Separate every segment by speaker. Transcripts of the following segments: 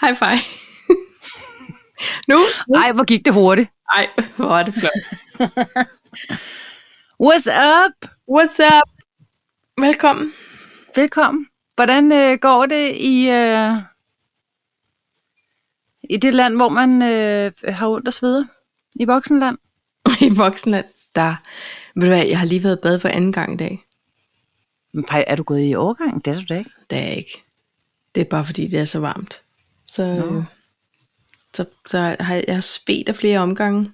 Speaker 1: High five. nu?
Speaker 2: Ej, hvor gik det hurtigt.
Speaker 1: Ej, hvor er det flot.
Speaker 2: What's up?
Speaker 1: What's up? Velkommen.
Speaker 2: Velkommen. Hvordan øh, går det i, øh, i det land, hvor man øh, har ondt og sveder? I voksenland?
Speaker 1: I Voksenland, der... Ved du hvad, jeg har lige været i bad for anden gang i dag.
Speaker 2: Men Paj, er du gået i overgang? Det er du da ikke.
Speaker 1: Det er jeg ikke. Det er bare fordi, det er så varmt. Så,
Speaker 2: Nå.
Speaker 1: så, så har jeg, jeg har svedt af flere omgange,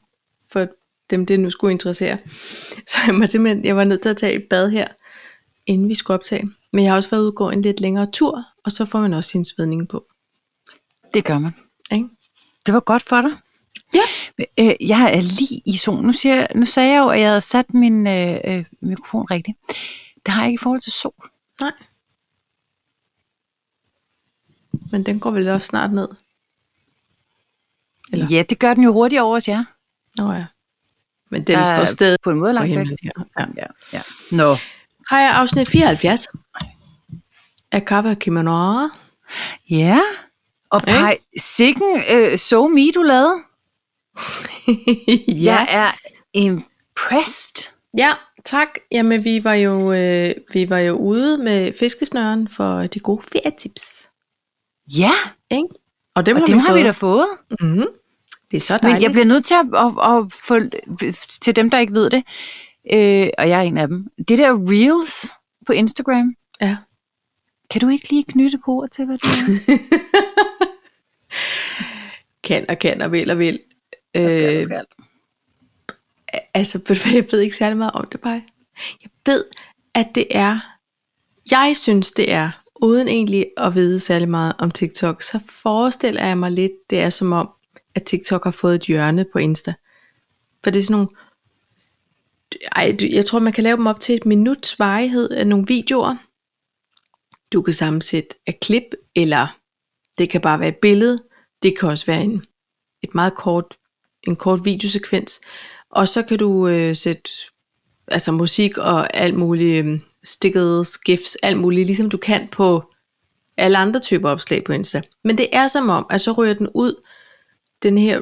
Speaker 1: for dem det nu skulle interessere. Så jeg, må simpelthen, jeg var nødt til at tage et bad her, inden vi skulle optage. Men jeg har også været ude og gå en lidt længere tur, og så får man også sin svedning på.
Speaker 2: Det gør man.
Speaker 1: Ikke?
Speaker 2: Det var godt for dig.
Speaker 1: Ja.
Speaker 2: Øh, jeg er lige i solen. Nu, siger, jeg- nu sagde jeg jo, at jeg havde sat min øh, øh, mikrofon rigtigt. Det har jeg ikke i forhold til sol.
Speaker 1: Nej. Men den går vel også snart ned. Eller-
Speaker 2: Ja, det gør den jo hurtigt over os, ja.
Speaker 1: Nå ja. Men den står stadig
Speaker 2: på en måde
Speaker 1: på
Speaker 2: langt væk.
Speaker 1: himlen her. Ja.
Speaker 2: Ja, ja. Nå.
Speaker 1: Har jeg afsnit 74 af Kava Kimono.
Speaker 2: Ja. Og
Speaker 1: Ikke?
Speaker 2: pej, sikken øh, so me, du lavede.
Speaker 1: ja.
Speaker 2: Jeg er impressed.
Speaker 1: ja, tak. Jamen, vi var, jo, øh, vi var jo ude med fiskesnøren for de gode ferietips.
Speaker 2: Ja,
Speaker 1: Ikke? Og dem,
Speaker 2: og
Speaker 1: har,
Speaker 2: dem
Speaker 1: vi
Speaker 2: har vi da
Speaker 1: fået.
Speaker 2: fået.
Speaker 1: Mm-hmm. Det er så dejligt.
Speaker 2: Men jeg bliver nødt til at, at, at få, til dem, der ikke ved det, øh, og jeg er en af dem, det der Reels på Instagram,
Speaker 1: ja.
Speaker 2: kan du ikke lige knytte på ord til, hvad det er?
Speaker 1: kan og kan og vil og vil. Øh,
Speaker 2: skal.
Speaker 1: altså, ved du hvad, jeg ved ikke særlig meget om det, bare. Jeg ved, at det er, jeg synes det er, uden egentlig at vide særlig meget om TikTok, så forestiller jeg mig lidt, det er som om, at TikTok har fået et hjørne på Insta. For det er sådan nogle, ej, du- jeg tror, man kan lave dem op til et minuts varighed af nogle videoer. Du kan sammensætte et klip, eller det kan bare være et billede. Det kan også være en, et meget kort, en kort videosekvens. Og så kan du øh, sætte altså musik og alt muligt, øh, stickers, gifs, alt muligt, ligesom du kan på alle andre typer opslag på Insta. Men det er som om, at så ryger den ud, den her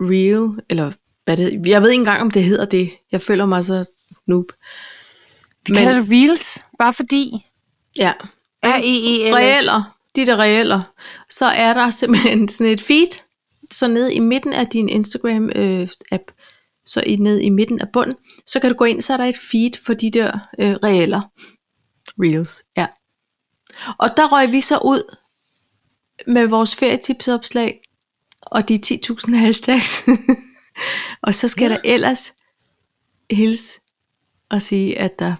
Speaker 1: reel, eller hvad det hedder. Jeg ved ikke engang, om det hedder det. Jeg føler mig så noob.
Speaker 2: Vi kalder det Reels, bare fordi.
Speaker 1: ja, E
Speaker 2: R-E-E-L-S.
Speaker 1: reeller, de der reeller, så er der simpelthen sådan et feed, så nede i midten af din Instagram-app, så i, nede i midten af bunden, så kan du gå ind, så er der et feed for de der øh, reeller. Reels, ja. Og der røg vi så ud med vores ferietipsopslag og de 10.000 hashtags. og så skal ja. der ellers hilse og sige, at der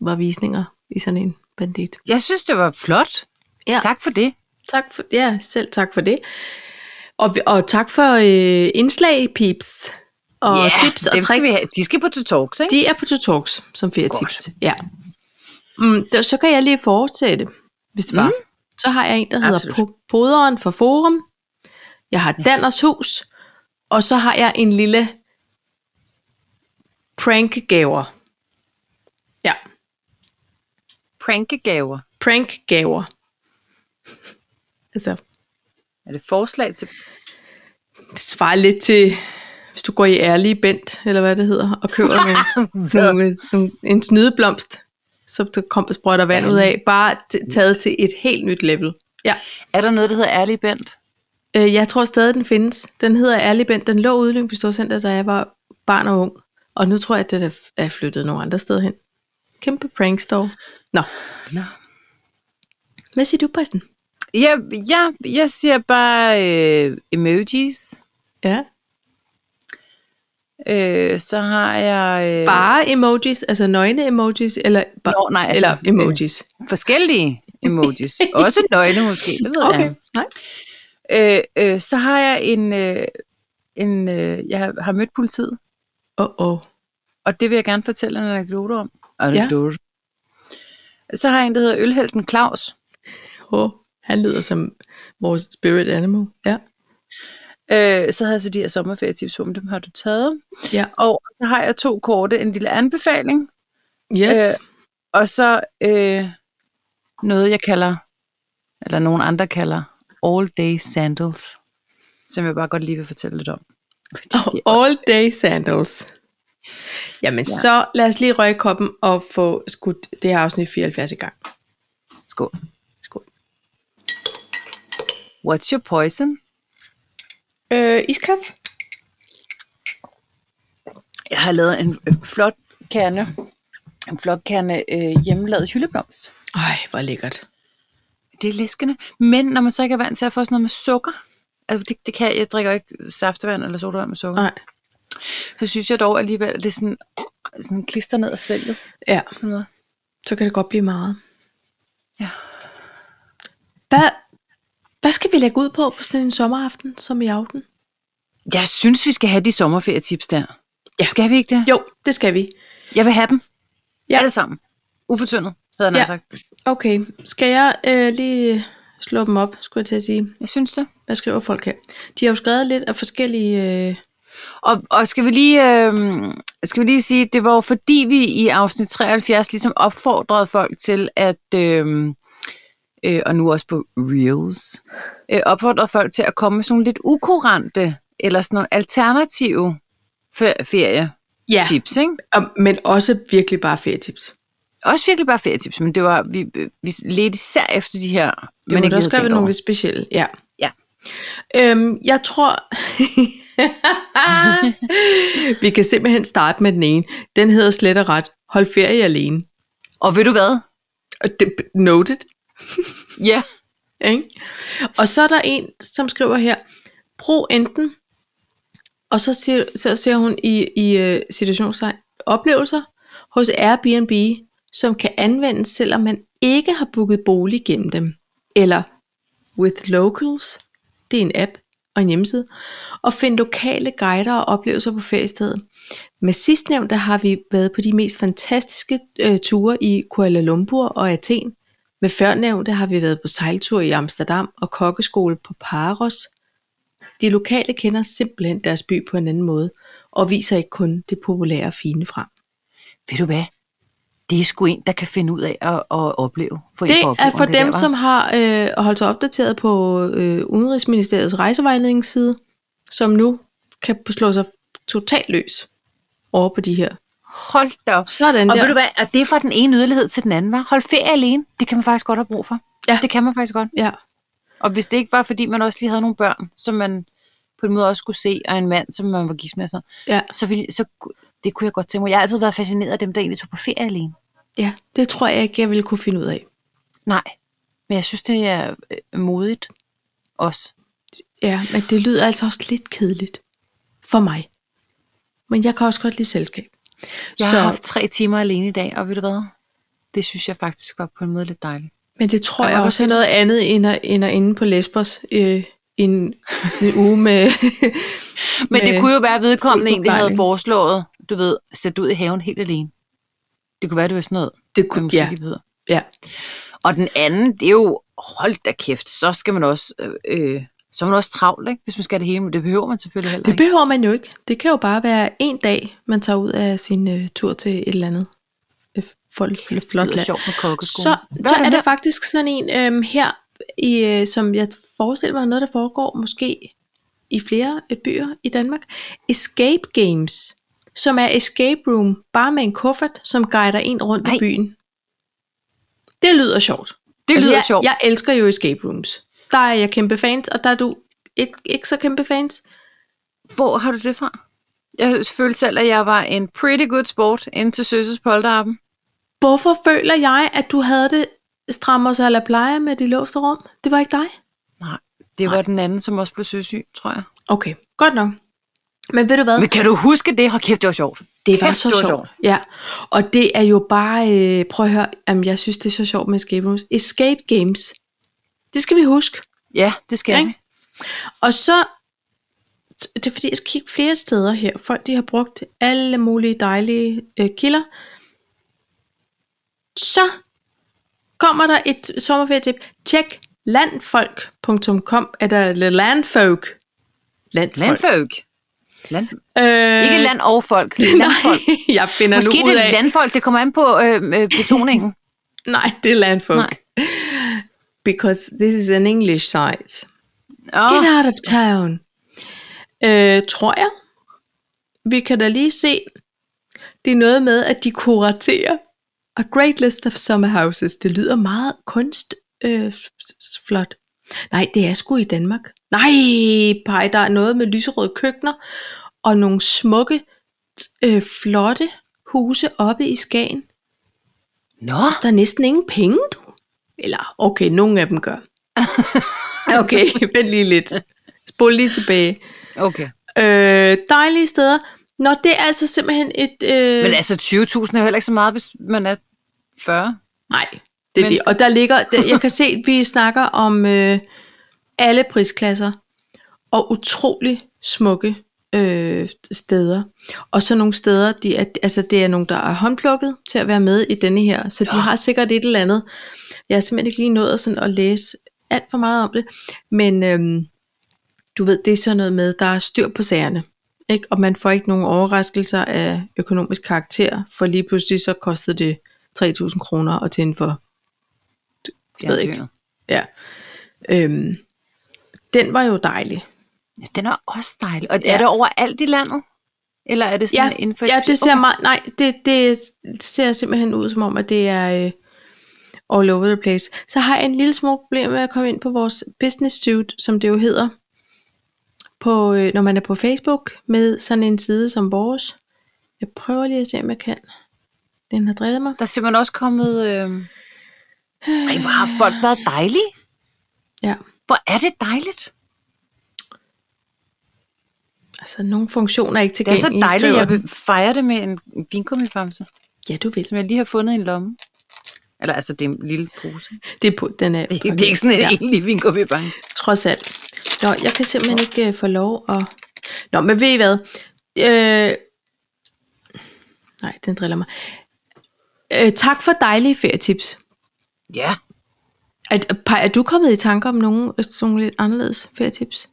Speaker 1: var visninger i sådan en bandit.
Speaker 2: Jeg synes, det var flot.
Speaker 1: Ja.
Speaker 2: Tak for det.
Speaker 1: Tak for, ja, selv tak for det. Og, og tak for øh, indslag, peeps. Og
Speaker 2: Ja,
Speaker 1: tips og
Speaker 2: dem skal
Speaker 1: tricks.
Speaker 2: vi have. De skal på to talks, ikke?
Speaker 1: De er på to talks som fire tips. Ja. Mm, der, så kan jeg lige fortsætte, hvis det var. Mm. Så har jeg en, der hedder
Speaker 2: Absolut.
Speaker 1: po- Poderen fra Forum. Jeg har Danners Hus. Og så har jeg en lille prankgaver. Ja,
Speaker 2: Prankegaver.
Speaker 1: prankgaver. altså,
Speaker 2: Er det forslag til...
Speaker 1: Det svarer lidt til, hvis du går i ærlige bent, eller hvad det hedder, og køber nogle, nogle, nogle, en snydeblomst, som der kom sprøjter vand ud af, bare t- taget til et helt nyt level. Ja.
Speaker 2: Er der noget, der hedder Ærlig Bent?
Speaker 1: Øh, jeg tror stadig, den findes. Den hedder ærlig bent. Den lå ude i Lyngby Storcenter, da jeg var barn og ung. Og nu tror jeg, at den er- er flyttet nogle andre steder hen. Kæmpe prankstore. Nå.
Speaker 2: Nå.
Speaker 1: Hvad siger du, Præsten?
Speaker 2: Ja, ja, jeg siger bare øh, emojis.
Speaker 1: Ja.
Speaker 2: Øh, så har jeg... Øh,
Speaker 1: Bare emojis, altså nøgne emojis, eller, bare,
Speaker 2: Nå, nej, altså,
Speaker 1: eller emojis.
Speaker 2: forskellige emojis. Også nøgne måske, det ved
Speaker 1: Okay,
Speaker 2: jeg.
Speaker 1: nej.
Speaker 2: Øh, øh, så har jeg en... Øh, en øh, jeg har mødt politiet,
Speaker 1: Åh, oh, oh.
Speaker 2: og det vil jeg gerne fortælle en anekdote om. Anekdote. Ja. Så har jeg en, der hedder Ølhelten Claus.
Speaker 1: Åh, han lyder som vores spirit animal. Ja.
Speaker 2: Øh, så havde jeg så de her sommerferietips på, men dem har du taget.
Speaker 1: Ja.
Speaker 2: Og så har jeg to korte, en lille anbefaling,
Speaker 1: Yes.
Speaker 2: Øh, og så øh, noget, jeg kalder, eller nogen andre kalder, All Day Sandals, som jeg bare godt lige vil fortælle lidt om. Fordi de er-
Speaker 1: Og all day sandals. Jamen ja. så lad os lige røge koppen og få skudt det her afsnit 74 i gang.
Speaker 2: Skål.
Speaker 1: Skål.
Speaker 2: What's your poison?
Speaker 1: Øh, iskap?
Speaker 2: Jeg har lavet en øh, flot kerne, en flot kerne øh, hjemmelavet hyldeblomst.
Speaker 1: Ej, hvor lækkert.
Speaker 2: Det er læskende. Men når man så ikke er vant til at få sådan noget med sukker, altså det, det kan jeg, jeg drikker jo ikke saftevand eller sodavand med sukker,
Speaker 1: Nej.
Speaker 2: så synes jeg dog alligevel, at det er sådan, sådan klister ned og svælget.
Speaker 1: Ja,
Speaker 2: på en måde.
Speaker 1: så kan det godt blive meget.
Speaker 2: Ja.
Speaker 1: Hvad, hvad skal vi lægge ud på på sådan en sommeraften som i aften?
Speaker 2: Jeg synes, vi skal have de sommerferietips der.
Speaker 1: Ja.
Speaker 2: Skal vi ikke det?
Speaker 1: Jo, det skal vi.
Speaker 2: Jeg vil have dem.
Speaker 1: Ja.
Speaker 2: Alle sammen. Ufortyndet, havde han
Speaker 1: Ja.
Speaker 2: ja. sagt.
Speaker 1: Okay, skal jeg øh, lige slå dem op, skulle jeg til at sige.
Speaker 2: Jeg synes det.
Speaker 1: Hvad skriver folk her? De har jo skrevet lidt af forskellige... Øh...
Speaker 2: Og, og skal, vi lige, øh, skal vi lige sige, det var jo fordi, vi i afsnit 73 ligesom opfordrede folk til at, øh, øh, og nu også på Reels, øh, opfordrede folk til at komme med sådan nogle lidt ukurante, eller sådan nogle alternative fe- ferietips,
Speaker 1: Ja,
Speaker 2: ja. ikke?
Speaker 1: og- men også virkelig bare ferietips.
Speaker 2: Også virkelig bare ferietips, men det var, vi, vi ledte især efter de her,
Speaker 1: Det
Speaker 2: man
Speaker 1: men der
Speaker 2: ikke lige havde
Speaker 1: skrev
Speaker 2: tænkt
Speaker 1: nogle
Speaker 2: over.
Speaker 1: lidt specielle, ja.
Speaker 2: Ja.
Speaker 1: Øhm, jeg tror, vi kan simpelthen starte med den ene. Den hedder slet og ret, hold ferie alene.
Speaker 2: Og ved du hvad?
Speaker 1: Og det, noted,
Speaker 2: Ja.
Speaker 1: ikke? Og så er der en, som skriver her, brug enten, og så ser, så ser hun i, i øh, situationstegn, oplevelser hos Airbnb, som kan anvendes, selvom man ikke har booket bolig gennem dem. Eller With Locals, det er en app og en hjemmeside, og find lokale guider og oplevelser på feriestedet. Med sidstnævnte har vi været på de mest fantastiske øh, ture i Kuala Lumpur og Athen. Med førnævnte har vi været på sejltur i Amsterdam og kokkeskole på Paros. De lokale kender simpelthen deres by på en anden måde, og viser ikke kun det populære og fine frem.
Speaker 2: Ved du hvad? Det er sgu en, der kan finde ud af at, at opleve. Få en
Speaker 1: Det
Speaker 2: på
Speaker 1: er
Speaker 2: opleveren,
Speaker 1: for
Speaker 2: det der,
Speaker 1: dem,
Speaker 2: hva'?
Speaker 1: som har øh, holdt sig opdateret på øh, Udenrigsministeriets rejsevejledningsside, som nu kan slå sig totalt løs over på de her.
Speaker 2: Hold da op.
Speaker 1: Sådan
Speaker 2: Og
Speaker 1: der.
Speaker 2: ved du hvad, og det er fra den ene yderlighed til den anden, var. Hold ferie alene, det kan man faktisk godt have brug for.
Speaker 1: Ja.
Speaker 2: Det kan man faktisk godt.
Speaker 1: Ja.
Speaker 2: Og hvis det ikke var, fordi man også lige havde nogle børn, som man på en måde også skulle se, og en mand, som man var gift med, så,
Speaker 1: Ja.
Speaker 2: så, ville, så ku- det kunne jeg godt tænke mig. Jeg har altid været fascineret af dem, der egentlig tog på ferie alene.
Speaker 1: ja, det tror jeg ikke, jeg ville kunne finde ud af.
Speaker 2: Nej, men jeg synes, det er øh, modigt også.
Speaker 1: Ja, men det lyder altså også lidt kedeligt for mig. Men jeg kan også godt lide selskab.
Speaker 2: Jeg
Speaker 1: så,
Speaker 2: så... har haft tre timer alene i dag, og ved du hvad? Det synes jeg faktisk var på en måde lidt dejligt.
Speaker 1: men det tror
Speaker 2: Jeg
Speaker 1: jeg,
Speaker 2: kan godt
Speaker 1: også er
Speaker 2: se
Speaker 1: noget andet end at, end at inde på Lesbos øh, en, en uge med...
Speaker 2: Men
Speaker 1: med-
Speaker 2: det kunne jo være, at vedkommende
Speaker 1: fuld
Speaker 2: egentlig havde
Speaker 1: forplejning.
Speaker 2: foreslået, du ved, sætte ud i haven helt alene. Det kunne være, det var sådan noget.
Speaker 1: det
Speaker 2: man
Speaker 1: kunne,
Speaker 2: måske
Speaker 1: ja,
Speaker 2: lige ved.
Speaker 1: ja,
Speaker 2: Og den anden, det er jo, hold da kæft, så skal man også, øh, øh, så er man også travlt, ikke? hvis man skal det hele, men det behøver man selvfølgelig heller
Speaker 1: det
Speaker 2: ikke.
Speaker 1: behøver man jo ikke. Det kan jo bare være en dag, man tager ud af sin øh, tur til et eller andet øh, folk, eller flot
Speaker 2: Det er
Speaker 1: land.
Speaker 2: sjovt med kokkeskolen.
Speaker 1: Så,
Speaker 2: Hvad
Speaker 1: så
Speaker 2: den
Speaker 1: er der
Speaker 2: her?
Speaker 1: faktisk sådan en øhm, her, i, øh, som jeg forestiller mig er noget, der foregår måske i flere øh, byer i Danmark. Escape Games, som er escape room, bare med en kuffert, som guider en rundt
Speaker 2: Nej.
Speaker 1: i byen. Det lyder sjovt. Altså,
Speaker 2: det lyder
Speaker 1: jeg,
Speaker 2: sjovt.
Speaker 1: Jeg elsker jo escape rooms. Der er jeg kæmpe fans, og der er du ikke, ikke så kæmpe fans.
Speaker 2: Hvor har du det fra? Jeg følte selv, at jeg var en pretty good sport inden til Søsses polterappen.
Speaker 1: Hvorfor føler jeg, at du havde det strammer sig eller pleje med de låste rum? Det var ikke dig.
Speaker 2: Nej, det var Nej. den anden, som også blev søsyg, tror jeg.
Speaker 1: Okay, godt nok. Men ved du hvad?
Speaker 2: Men kan du huske det? Hold kæft, det var sjovt.
Speaker 1: Det var
Speaker 2: Kæft,
Speaker 1: så
Speaker 2: det var
Speaker 1: sjovt.
Speaker 2: sjovt.
Speaker 1: Ja, og det er jo bare, øh, prøv at høre, jamen, jeg synes, det er så sjovt med escape rooms. Escape games, det skal vi huske.
Speaker 2: Ja, det skal
Speaker 1: Ja,
Speaker 2: jeg.
Speaker 1: ikke? Og så, det er fordi, jeg skal kigge flere steder her. Folk, de har brugt alle mulige dejlige øh, kilder. Så kommer der et sommerferietip. Tjek landfolk.com, eller landfolk. Landfolk.
Speaker 2: Landfolk. Land...
Speaker 1: Øh,
Speaker 2: Ikke land og folk. Landfolk.
Speaker 1: Nej, jeg finder
Speaker 2: Måske
Speaker 1: nu ud
Speaker 2: det
Speaker 1: af...
Speaker 2: er landfolk, det kommer an på øh, øh, betoningen.
Speaker 1: Nej, det er landfolk.
Speaker 2: Nej.
Speaker 1: because this is an English site.
Speaker 2: Åh,
Speaker 1: Get out of town. Øh, tror jeg. Vi kan da lige se. Det er noget med, at de kuraterer. A great list of summer houses. Det lyder meget kunst, øh, s- s- flot. Nej, det er sgu i Danmark. Nej, pej, der er noget med lyserøde køkkener og nogle smukke, t- øh, flotte huse oppe i Skagen.
Speaker 2: nå,
Speaker 1: Der er næsten ingen penge, du. Eller, okay, nogle af dem gør. Okay, vent lige lidt. Spol lige tilbage.
Speaker 2: okay.
Speaker 1: Øh, dejlige steder. Nå, det er altså simpelthen et... Øh,
Speaker 2: Men altså 20.000 er jo heller ikke så meget, hvis man er 40.
Speaker 1: nej, det er
Speaker 2: Men-
Speaker 1: det. Og der ligger... Der, jeg kan se, at vi snakker om øh, alle prisklasser. Og utrolig smukke øh, steder. Og så nogle steder, de er, altså det er nogle, der er håndplukket til at være med i denne her. Så de har sikkert et eller andet. Jeg har simpelthen ikke lige nået sådan at læse alt for meget om det. Men øhm, du ved, det er sådan noget med, der er styr på sagerne. Ikke? Og man får ikke nogen overraskelser af økonomisk karakter, for lige pludselig så kostede det 3.000 kroner at tænde for. Jeg ved ikke.
Speaker 2: Fjernsynet.
Speaker 1: Ja. Øhm, den var jo dejlig.
Speaker 2: Ja, den er også dejlig. Og ja. er
Speaker 1: Ja.
Speaker 2: det overalt i landet? Eller er det sådan
Speaker 1: Ja,
Speaker 2: inden for...
Speaker 1: ja det ser okay. meget, nej, det, det ser simpelthen ud som om, at det er øh, all over the place. Så har jeg en lille smule problem med at komme ind på vores business suit, som det jo hedder, på, øh, når man er på Facebook, med sådan en side som vores. Jeg prøver lige at se, om jeg kan. Den har drillet mig.
Speaker 2: Der er simpelthen også kommet... Øh... Ej, hvor har folk været dejlige.
Speaker 1: Ja,
Speaker 2: Hvor er det dejligt.
Speaker 1: altså nogle funktioner er ikke
Speaker 2: Det er
Speaker 1: tilgængelige.
Speaker 2: så dejligt,
Speaker 1: skriver
Speaker 2: jeg
Speaker 1: den.
Speaker 2: vil fejre det med en vingummibamse,
Speaker 1: Ja, du vil.
Speaker 2: som jeg lige har fundet i en lomme. Eller altså, det er en lille pose.
Speaker 1: Det er på, den er,
Speaker 2: Det, det er ikke sådan en
Speaker 1: Ja.
Speaker 2: ja. egentlig vingummibamse.
Speaker 1: trods alt. Nå, jeg kan simpelthen ikke øh, få lov at... Nå, men ved I hvad? Øh... Nej, den driller mig. Øh, tak for dejlige ferietips.
Speaker 2: Ja.
Speaker 1: Er, Paj, er du kommet i tanke om nogle, øh, sådan nogle lidt anderledes ferietips?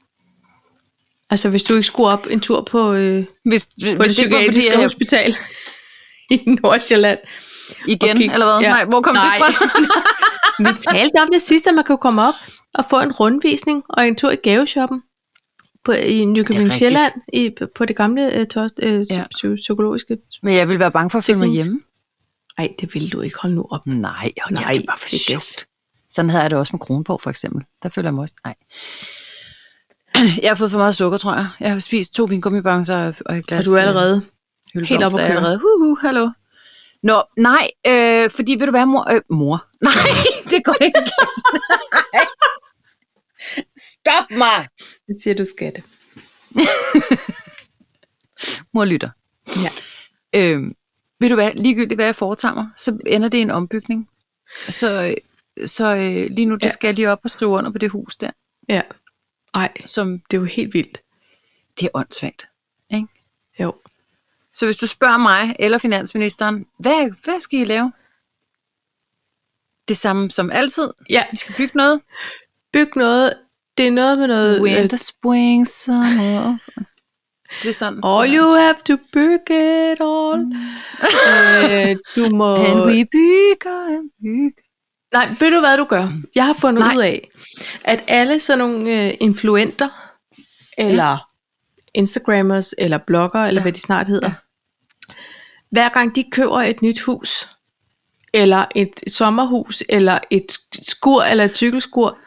Speaker 1: Altså, hvis du ikke skulle op en tur på, øh,
Speaker 2: Hvis,
Speaker 1: på et
Speaker 2: hvis det ikke var, fordi
Speaker 1: psykiatrisk
Speaker 2: jeg,
Speaker 1: hospital i Nordsjælland.
Speaker 2: igen,
Speaker 1: og kigge-
Speaker 2: eller hvad?
Speaker 1: Ja.
Speaker 2: Nej, hvor kom det
Speaker 1: Nej.
Speaker 2: fra?
Speaker 1: Vi talte om det sidste, at man kan komme op og få en rundvisning og en tur i gaveshoppen på, i Nykøbing
Speaker 2: rigtigt.
Speaker 1: Sjælland i, på det gamle øh, tost, øh,
Speaker 2: Ja.
Speaker 1: ja. psykologiske.
Speaker 2: Men jeg ville være bange for at følge mig hjemme.
Speaker 1: Nej, det ville du ikke. Hold nu op.
Speaker 2: Nej, og Nej,
Speaker 1: Nej,
Speaker 2: det er bare for
Speaker 1: det er
Speaker 2: sjovt. Sådan havde jeg det også med Kronborg, for eksempel. Der føler jeg mig også... Nej. Jeg har fået for meget sukker, tror jeg. Jeg har spist to vingummibamser og et glas... øh,
Speaker 1: Og du er allerede
Speaker 2: Hyldeblomst,
Speaker 1: helt oppe
Speaker 2: der
Speaker 1: at
Speaker 2: er
Speaker 1: køre.
Speaker 2: allerede. Hu, hu, hallo. Nå, nej, øh, fordi vil du være mor? Øh, mor? Nej, det går ikke. Nej. Stop mig!
Speaker 1: Det siger du skatte.
Speaker 2: Mor lytter.
Speaker 1: Ja.
Speaker 2: Øh, vil du være ligegyldigt, hvad jeg foretager mig, så ender det i en ombygning. Så, øh, så øh, lige nu, der
Speaker 1: Ja.
Speaker 2: skal jeg lige op og skrive under på det hus der,
Speaker 1: Ja. Ej,
Speaker 2: som
Speaker 1: det er jo helt vildt.
Speaker 2: det er åndssvagt. Ikke?
Speaker 1: Jo.
Speaker 2: Så hvis du spørger mig eller finansministeren, hvad, hvad skal I lave? Det samme som altid.
Speaker 1: Ja,
Speaker 2: Vi skal bygge noget.
Speaker 1: byg noget. Det er noget med noget. øh,
Speaker 2: Winter, spring, summer. Det er sådan.
Speaker 1: øh, All you have to bygge it all.
Speaker 2: Mm.
Speaker 1: øh, du må...
Speaker 2: And we bygger and bygger.
Speaker 1: Nej, ved du hvad du gør? Jeg har fundet
Speaker 2: Nej.
Speaker 1: Nej. ud af, at alle sådan nogle øh, influenter, eller ja. Instagrammers, eller blogger, eller ja. hvad de snart hedder,
Speaker 2: Ja.
Speaker 1: ja. hver gang de køber et nyt hus, eller et sommerhus, eller et sk- skur, eller et tykkelskur,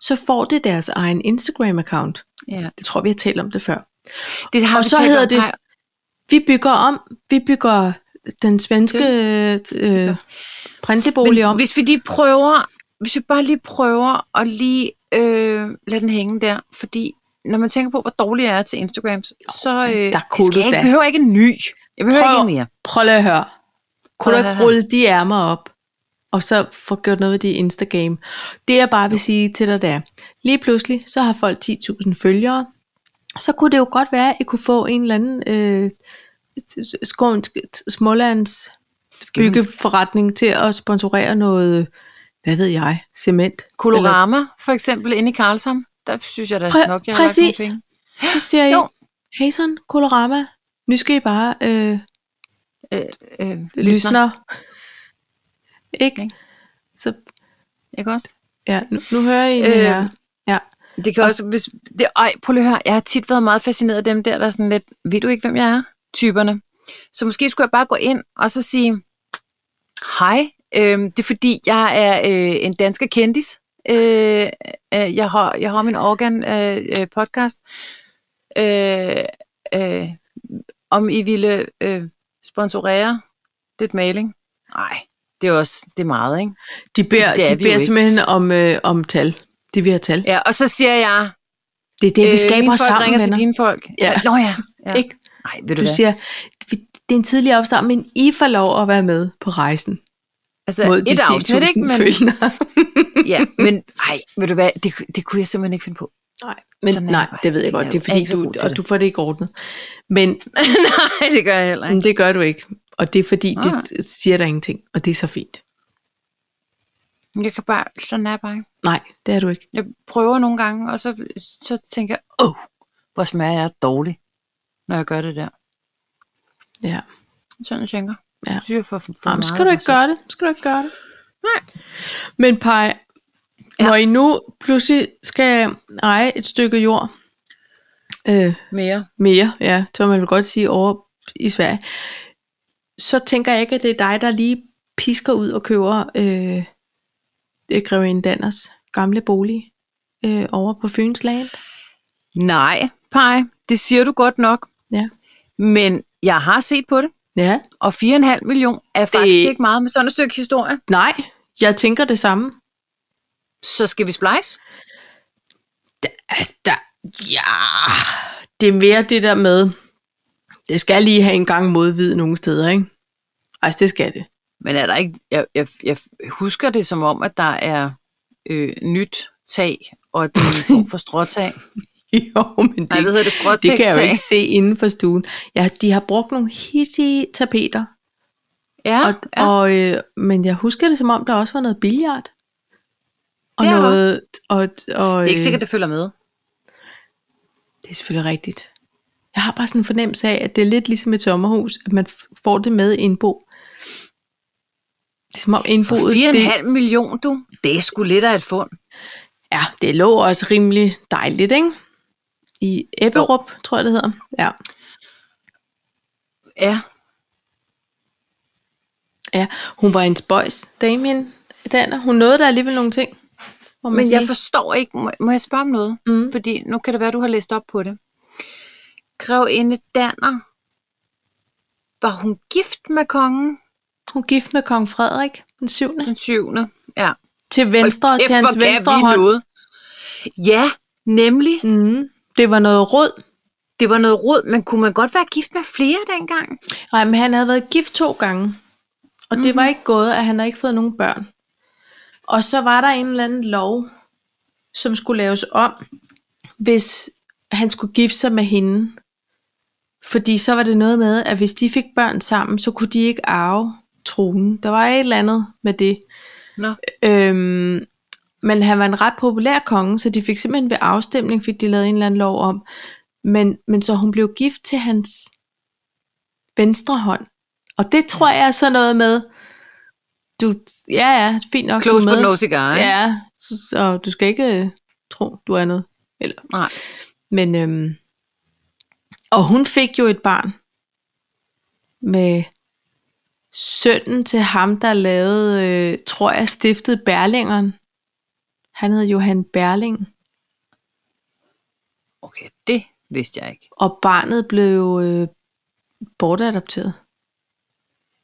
Speaker 1: så får det deres egen Instagram-account.
Speaker 2: Ja.
Speaker 1: Det tror vi har talt om det før.
Speaker 2: Det har
Speaker 1: Og
Speaker 2: vi
Speaker 1: så
Speaker 2: talt
Speaker 1: hedder
Speaker 2: om,
Speaker 1: det-
Speaker 2: Paj.
Speaker 1: Vi bygger om, vi bygger den svenske øh, øh,
Speaker 2: Men
Speaker 1: prinsebolig om.
Speaker 2: Hvis vi lige prøver, hvis vi bare lige prøver at lige øh, lade den hænge der, fordi når man tænker på, hvor dårlig jeg er til Instagrams, så øh,
Speaker 1: der kunne
Speaker 2: skal
Speaker 1: du
Speaker 2: jeg ikke,
Speaker 1: da.
Speaker 2: behøver ikke en ny. Jeg behøver
Speaker 1: Prøv-
Speaker 2: ikke en mere.
Speaker 1: Prøv lige at høre. Kunne
Speaker 2: Prøv
Speaker 1: du
Speaker 2: lige at
Speaker 1: ikke
Speaker 2: høre.
Speaker 1: rulle de ærmer op, og så få gjort noget ved de Instagram? Det jeg bare vil sige til dig, det er, lige pludselig, så har folk 10.000 følgere, så kunne det jo godt være, at I kunne få en eller anden øh, skånsk, smålands byggeforretning til at sponsorere noget, hvad ved jeg, cement. Eller-
Speaker 2: Colorama, for eksempel, inde i Karlshamn. Der synes jeg da
Speaker 1: Præ-
Speaker 2: nok, jeg har lagt
Speaker 1: præcis.
Speaker 2: nogle penge.
Speaker 1: Så siger I,
Speaker 2: Jo.
Speaker 1: Hazen, Colorama, nu skal I bare øh,
Speaker 2: Øh, øh, lysner,
Speaker 1: lysner. Ikke?
Speaker 2: Ikke?
Speaker 1: Så
Speaker 2: ikke også?
Speaker 1: Ja, nu, nu hører I øh, her. Ja.
Speaker 2: Det kan også, hvis, det, ej, prøv lige at høre, jeg har tit været meget fascineret af dem der, der er sådan lidt, ved du ikke, hvem jeg er? Typerne. Så måske skulle jeg bare gå ind og så sige, hej, øhm, det er fordi, jeg er øh, en dansker kendis. Øh, øh, jeg, har, jeg har min organ øh, øh, podcast. Øh, øh, om I ville øh, sponsorere lidt maling? Nej, det er også det er meget, ikke?
Speaker 1: De beder,
Speaker 2: Det er
Speaker 1: de
Speaker 2: vi jo
Speaker 1: beder
Speaker 2: ikke.
Speaker 1: simpelthen om, øh, om tal. De vil have tal. Øh,
Speaker 2: Ja, og så siger jeg, øh,
Speaker 1: Det er det, vi skaber
Speaker 2: mine folk
Speaker 1: sammen,
Speaker 2: ringer
Speaker 1: venner.
Speaker 2: til dine folk.
Speaker 1: Ja.
Speaker 2: Nå ja. ja.
Speaker 1: Ikke?
Speaker 2: Nej, ved du,
Speaker 1: Du
Speaker 2: hvad?
Speaker 1: siger, vi- det er en tidlig opstart, men I får lov at være med på rejsen
Speaker 2: altså,
Speaker 1: mod de
Speaker 2: et afsnit,
Speaker 1: 10.000
Speaker 2: ikke? Men,
Speaker 1: følgere.
Speaker 2: ja, men ej, ved du hvad, det, det kunne jeg simpelthen ikke finde på.
Speaker 1: Nej, men
Speaker 2: Sådan er
Speaker 1: nej,
Speaker 2: det bare.
Speaker 1: det ved jeg
Speaker 2: Det er
Speaker 1: godt. Det er
Speaker 2: jo- jeg er
Speaker 1: fordi,
Speaker 2: ikke så
Speaker 1: du,
Speaker 2: god til
Speaker 1: og
Speaker 2: det.
Speaker 1: du får det ikke ordnet. Men
Speaker 2: Nej, det gør jeg heller
Speaker 1: men det gør du ikke. Og det er fordi,
Speaker 2: Nej.
Speaker 1: det siger der ingenting. Og det er så fint.
Speaker 2: Mm. Jeg kan bare, sådan er jeg bare. ikke.
Speaker 1: Nej, det er du ikke.
Speaker 2: Jeg prøver nogle gange, og så, så tænker jeg, åh, oh, hvor smager jeg dårlig, når jeg gør det der.
Speaker 1: Ja.
Speaker 2: Sådan jeg tænker.
Speaker 1: Ja.
Speaker 2: Jeg synes, jeg får for, for
Speaker 1: Jamen,
Speaker 2: meget altså,
Speaker 1: skal du
Speaker 2: af
Speaker 1: ikke
Speaker 2: mig
Speaker 1: gøre det? Skal du ikke gøre det?
Speaker 2: Nej.
Speaker 1: Men Paj,
Speaker 2: Ja.
Speaker 1: ja. når I nu pludselig skal eje et stykke jord øh,
Speaker 2: selv. mere.
Speaker 1: mere, ja, tør man vel godt sige, over i Sverige, så tænker jeg ikke, at det er dig, der lige pisker ud og køber øh, øh, Grevinde Danners gamle bolig øh, over på Fynsland.
Speaker 2: Nej, Paj, det siger du godt nok.
Speaker 1: Ja.
Speaker 2: Men jeg har set på det,
Speaker 1: Ja,
Speaker 2: og 4,5 million er faktisk ikke meget med sådan et stykke historie.
Speaker 1: nej, jeg tænker det samme.
Speaker 2: Så skal vi splice?
Speaker 1: Altså, der, ja, det er mere det der med, det skal lige have en gang modvid nogle steder, ikke? Altså, det skal det.
Speaker 2: Men er der ikke, jeg, jeg, jeg husker det som om, at der er øh, nyt tag, og at det er en form for stråtag.
Speaker 1: Jo, men det,
Speaker 2: Nej, hvad hedder det? Stråtag?
Speaker 1: det kan jeg jo ikke se inden for stuen. Ja, de har brugt nogle hissige tapeter,
Speaker 2: Ja,
Speaker 1: og,
Speaker 2: ja.
Speaker 1: og, øh, men jeg husker det som om, der også var noget billiard. Og
Speaker 2: Det er der
Speaker 1: noget, og, og,
Speaker 2: det er ikke
Speaker 1: øh,
Speaker 2: sikkert, det følger med.
Speaker 1: Det er selvfølgelig rigtigt. Jeg har bare sådan en fornemmelse af, at det er lidt ligesom et sommerhus, at man f- får det med indbo. Det er som om
Speaker 2: For
Speaker 1: indboet... det,
Speaker 2: 4,5 million, du. Det er sgu lidt af et fund.
Speaker 1: Ja, det lå også rimelig dejligt, ikke? I Ebberup, tror jeg det hedder. Ja.
Speaker 2: Ja.
Speaker 1: ja. Hun var en spøjs, Damien Danner. Hun nåede der alligevel nogle ting. Må man
Speaker 2: Men jeg
Speaker 1: sige.
Speaker 2: forstår ikke, må, må jeg spørge om noget?
Speaker 1: Mm.
Speaker 2: Fordi nu kan det være, du har læst op på det. Grevinde Danner, var hun gift med kongen
Speaker 1: Hun er gift med kong Frederik den 7.
Speaker 2: den syvende? Ja.
Speaker 1: Til venstre,
Speaker 2: Hold
Speaker 1: til
Speaker 2: kæft,
Speaker 1: hans
Speaker 2: hvor kan
Speaker 1: venstre
Speaker 2: vi
Speaker 1: hånd.
Speaker 2: Noget. Ja, nemlig.
Speaker 1: Mm. Det var noget rød.
Speaker 2: Det var noget rod, men kunne man godt være gift med flere dengang?
Speaker 1: Nej, men han havde været gift to gange. Og mm-hmm. det var ikke gået, at han havde ikke fået nogen børn. Og så var der en eller anden lov, som skulle laves om, hvis han skulle gifte sig med hende. Fordi så var det noget med, at hvis de fik børn sammen, så kunne de ikke arve tronen. Der var et eller andet med det.
Speaker 2: Nå.
Speaker 1: Øhm, men han var en ret populær konge, så de fik simpelthen ved afstemning, fik de lavet en eller anden lov om. Men, men så hun blev gift til hans venstre hånd. Og det tror jeg er sådan noget med, du, ja ja, fint nok,
Speaker 2: Close
Speaker 1: du er
Speaker 2: but
Speaker 1: med.
Speaker 2: no cigar, ikke?
Speaker 1: Ja, så, så du skal ikke øh, tro, du er noget. Eller,
Speaker 2: Nej.
Speaker 1: men, øhm, og hun fik jo et barn med sønnen til ham, der lavede, øh, tror jeg, stiftet Berlingeren. Han hed Johan Berling,
Speaker 2: Okay, det vidste jeg ikke.
Speaker 1: og barnet blev øh, bortadopteret.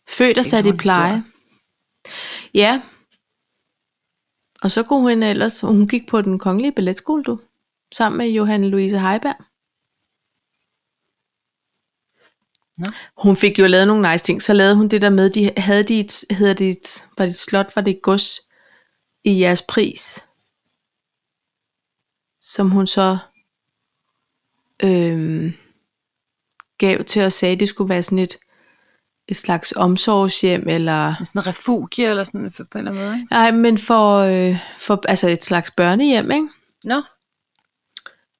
Speaker 1: Født og
Speaker 2: Sikke
Speaker 1: sat i
Speaker 2: nogle
Speaker 1: pleje. Ja. Og så kunne hun ellers, hun gik på den kongelige balletskole, du, sammen med Johanne Louise Heiberg.
Speaker 2: Nå.
Speaker 1: Hun fik jo lavet nogle nice ting. Så lavede hun det der med, de havde de et, hedder det et, var det et slot, var det et gods i jeres pris. Som hun så øhm, gav til og sagde, at det skulle være sådan et, et slags omsorgshjem, eller
Speaker 2: Sådan en refugie eller sådan på en eller anden måde, ikke?
Speaker 1: nej, men for, øh, for altså et slags børnehjem, ikke?
Speaker 2: Nå.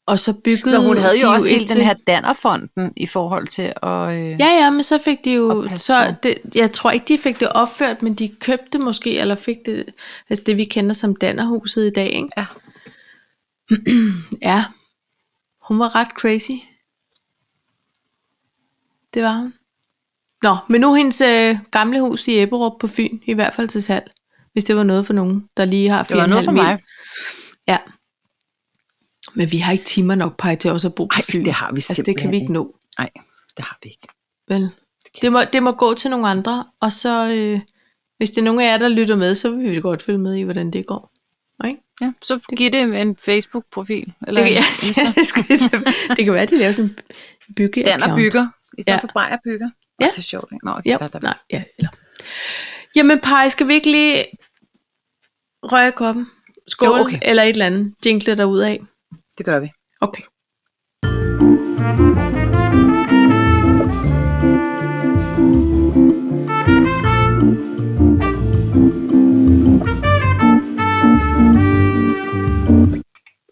Speaker 1: Og så byggede
Speaker 2: Men hun havde
Speaker 1: de
Speaker 2: jo også hele
Speaker 1: indtil-
Speaker 2: den her dannerfonden i forhold til at... Øh,
Speaker 1: Ja, ja, men så fik de jo,
Speaker 2: Og pas
Speaker 1: så
Speaker 2: på.
Speaker 1: det, jeg tror ikke, de fik det opført, men de købte måske, eller fik det, altså det vi kender som Dannerhuset i dag, ikke?
Speaker 2: Ja.
Speaker 1: ja, hun var ret crazy. Det var hun. Nå, men nu er hendes øh, gamle hus i Æbberup på Fyn, i hvert fald til salg, hvis det var noget for nogen, der lige har 4,5
Speaker 2: det var noget for
Speaker 1: mil.
Speaker 2: mig.
Speaker 1: Ja. Men vi har ikke timer nok, Paj, til også at bo på
Speaker 2: Ej,
Speaker 1: Fyn.
Speaker 2: det har vi
Speaker 1: altså, det kan vi
Speaker 2: simpelthen
Speaker 1: ikke nå.
Speaker 2: Nej, det har vi ikke.
Speaker 1: Vel. Det må, det må gå til nogle andre, og så øh, hvis det er nogen af jer, der lytter med, så vil vi godt følge med i, hvordan det går. Ikke?
Speaker 2: Ja, så giv det en Facebook-profil. Eller
Speaker 1: Det, kan,
Speaker 2: en
Speaker 1: ja, det, skulle jeg til- det kan være, at de laver sådan en bygge
Speaker 2: Danner bygger, i stedet
Speaker 1: Ja.
Speaker 2: ja. for Brejer bygger.
Speaker 1: Ja.
Speaker 2: Ja. Det er sjovt, ikke? Nå, okay,
Speaker 1: Ja,
Speaker 2: der, der,
Speaker 1: nej, ja, eller. Jamen, Paj, skal vi ikke lige røre i koppen? Skål,
Speaker 2: Jo,
Speaker 1: okay.
Speaker 2: okay.
Speaker 1: eller et eller andet. Jinkle derudad. af.
Speaker 2: det gør vi.
Speaker 1: Okay.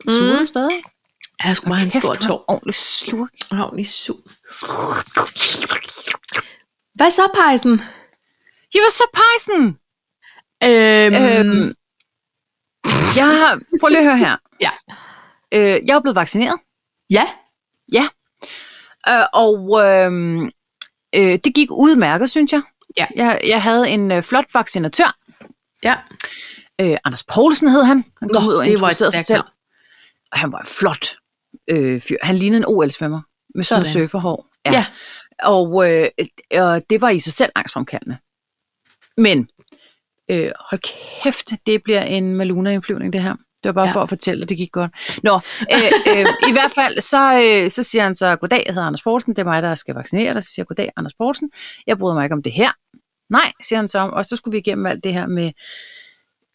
Speaker 2: Suger du stadig?
Speaker 1: Jeg skulle bare have en stor
Speaker 2: du har
Speaker 1: tår.
Speaker 2: Ordentlig slurk.
Speaker 1: Havn su. Hvad så, Pejsen?
Speaker 2: Ja, hvad så, Pejsen?
Speaker 1: Øhm,
Speaker 2: Øhm, jeg har, prøv lige at høre her.
Speaker 1: Ja.
Speaker 2: Øh, jeg er blevet vaccineret,
Speaker 1: ja.
Speaker 2: øh, og øhm, øh, det gik udmærket, synes jeg.
Speaker 1: Ja.
Speaker 2: Jeg, jeg havde en øh, flot vaccinatør.
Speaker 1: Ja.
Speaker 2: Øh, Anders Poulsen hed han. Han kom
Speaker 1: Nå,
Speaker 2: ud og
Speaker 1: det var et
Speaker 2: introducerede sig
Speaker 1: stærkt
Speaker 2: selv.
Speaker 1: navn.
Speaker 2: Og han var en flot øh, fyr. Han lignede en OL-svømmer med sådan
Speaker 1: Sådan.
Speaker 2: noget surferhår.
Speaker 1: Ja.
Speaker 2: Og, øh, og det var i sig selv angstfremkaldende. Men øh, hold kæft, det bliver en Maluna-indflyvning, det her. Det var bare
Speaker 1: Ja.
Speaker 2: ja. for at fortælle, at det gik godt. Nå, øh, øh, i hvert fald, så, øh, så siger han så, goddag, jeg hedder Anders Poulsen, det er mig, der skal vaccinere dig. Så siger jeg, goddag, Anders Poulsen, jeg bryder mig ikke om det her. Nej, siger han så om, og så skulle vi igennem alt det her med,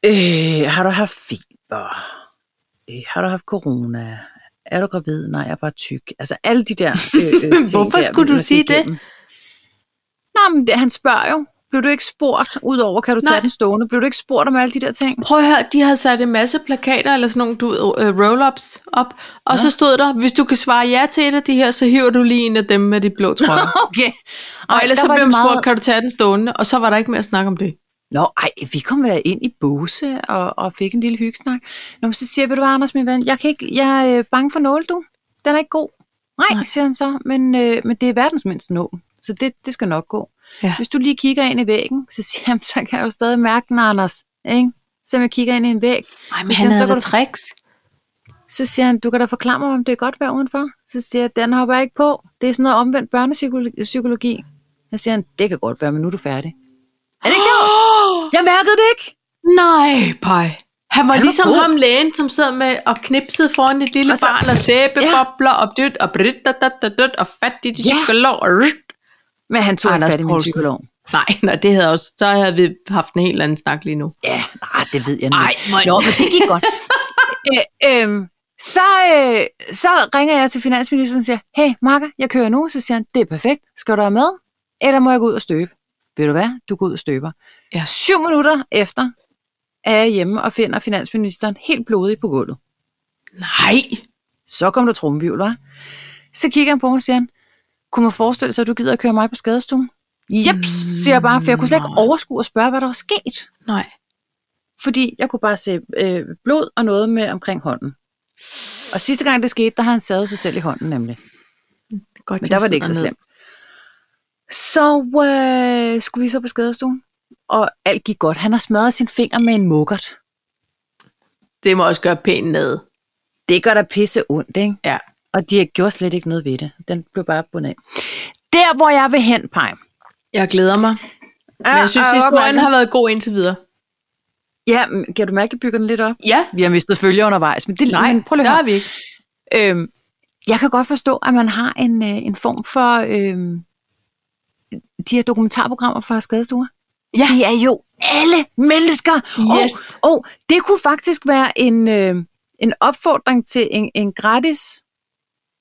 Speaker 2: øh, har du haft feber? Øh, har du haft corona? Er du gravid? Nej, jeg er bare tyk. Altså alle de der øh, øh, ting
Speaker 1: Hvorfor
Speaker 2: der,
Speaker 1: skulle
Speaker 2: vi
Speaker 1: du
Speaker 2: måtte
Speaker 1: sige det?
Speaker 2: igennem. Nå, men det, han spørger jo. Blev du ikke spurgt, udover kan du
Speaker 1: Nej.
Speaker 2: tage den stående? Blev du ikke spurgt om alle de der ting?
Speaker 1: Prøv at høre, de havde sat en masse plakater eller sådan nogle du, øh, roll-ups op, og ja. så stod der, hvis du kan svare ja til et af de her, så hiver du lige en af dem med de blå trøje.
Speaker 2: Okay.
Speaker 1: og ellers
Speaker 2: der
Speaker 1: så
Speaker 2: var
Speaker 1: blev
Speaker 2: det
Speaker 1: man spurgt, kan du tage den stående? Og så var der ikke mere at snakke om det.
Speaker 2: Nå, ej, vi kom da ind i Bose og, og fik en lille hyggesnak. Nå, men så siger jeg, ved du hvad, Anders, min ven, jeg, kan ikke, jeg er øh, bange for nåle, du. Den er ikke god. Nej,
Speaker 1: Nej.
Speaker 2: Nej. siger han så, men, øh, men det er verdens mindste nål, så det, det skal nok gå.
Speaker 1: Ja.
Speaker 2: Hvis du lige kigger ind i væggen, så siger han, så kan jeg jo stadig mærke den, Anders. Ikke? Så jeg kigger ind i en væg.
Speaker 1: Ej, men
Speaker 2: Hvis
Speaker 1: han
Speaker 2: han så
Speaker 1: havde da
Speaker 2: går-
Speaker 1: tricks.
Speaker 2: Så siger han, du kan da forklare mig, om det er godt vejr udenfor. Så siger jeg, den hopper jeg ikke på. Det er sådan noget omvendt børnepsykologi. Så siger han, det kan godt være, men nu er du færdig. Er det ikke sjovt? Jeg mærkede det ikke.
Speaker 1: Nej, pej. Han var
Speaker 2: Han var
Speaker 1: ligesom
Speaker 2: god.
Speaker 1: ham lægen, som sad med og knipsede foran et lille
Speaker 2: Og
Speaker 1: og
Speaker 2: så-
Speaker 1: barn, og sæbebobler, ja. og dyt, og bridt, da, da, da, da, og fat i de
Speaker 2: Ja.
Speaker 1: psykolog, og ryt.
Speaker 2: Men han tog
Speaker 1: Anders
Speaker 2: Anders fat i min
Speaker 1: Poulsen.
Speaker 2: psykolog.
Speaker 1: Nej, nej, det havde også, så havde vi haft en helt anden snak lige nu.
Speaker 2: Ja, nej, det ved jeg
Speaker 1: Ej, hvor-
Speaker 2: Nå, men det gik godt. Æ, øhm, så, øh, så ringer jeg til finansministeren og siger, hey Marker, jeg kører nu. Så siger han, det er perfekt. Skal du have med? Eller må jeg gå ud og støbe? Ved du hvad? Du går ud og støber.
Speaker 1: Ja.
Speaker 2: Syv minutter efter er jeg hjemme og finder finansministeren helt blodig på gulvet.
Speaker 1: Nej.
Speaker 2: Så kom der trumvivl, var. Så kigger han på mig og siger, han, kunne man forestille sig, at du gider at køre mig på skadestuen? Jeps, siger jeg bare, for jeg kunne slet ikke overskue at spørge, hvad der var sket
Speaker 1: Nej.
Speaker 2: fordi jeg kunne bare se øh, blod og noget med omkring hånden. Og sidste gang det skete, der har han savet sig selv i hånden nemlig.
Speaker 1: Godt,
Speaker 2: Men
Speaker 1: jeg
Speaker 2: der var det ikke så
Speaker 1: sidder ned.
Speaker 2: slemt. Så øh, skulle vi så på skadestuen, og alt gik godt. Han har smadret sin finger med en mukkert.
Speaker 1: Det må også gøre pænt ned.
Speaker 2: Det gør da pisse ondt, ikke?
Speaker 1: Ja.
Speaker 2: Og de gjorde slet ikke noget ved det. Den blev bare bundet af. Der, hvor jeg vil hen, Paj.
Speaker 1: Jeg glæder mig. Men jeg synes, historien har været god indtil videre.
Speaker 2: Ja, men kan du mærke, at jeg bygger den lidt op?
Speaker 1: Ja.
Speaker 2: Vi har mistet følger undervejs, men det
Speaker 1: Nej,
Speaker 2: men prøv lige at
Speaker 1: der
Speaker 2: høre.
Speaker 1: er vi ikke.
Speaker 2: Øhm, jeg kan godt forstå, at man har en, øh, en form for øhm, de her dokumentarprogrammer fra skadestuer.
Speaker 1: Ja.
Speaker 2: Det er jo alle mennesker.
Speaker 1: Yes.
Speaker 2: Og, og det kunne faktisk være en, øh, en opfordring til en, en gratis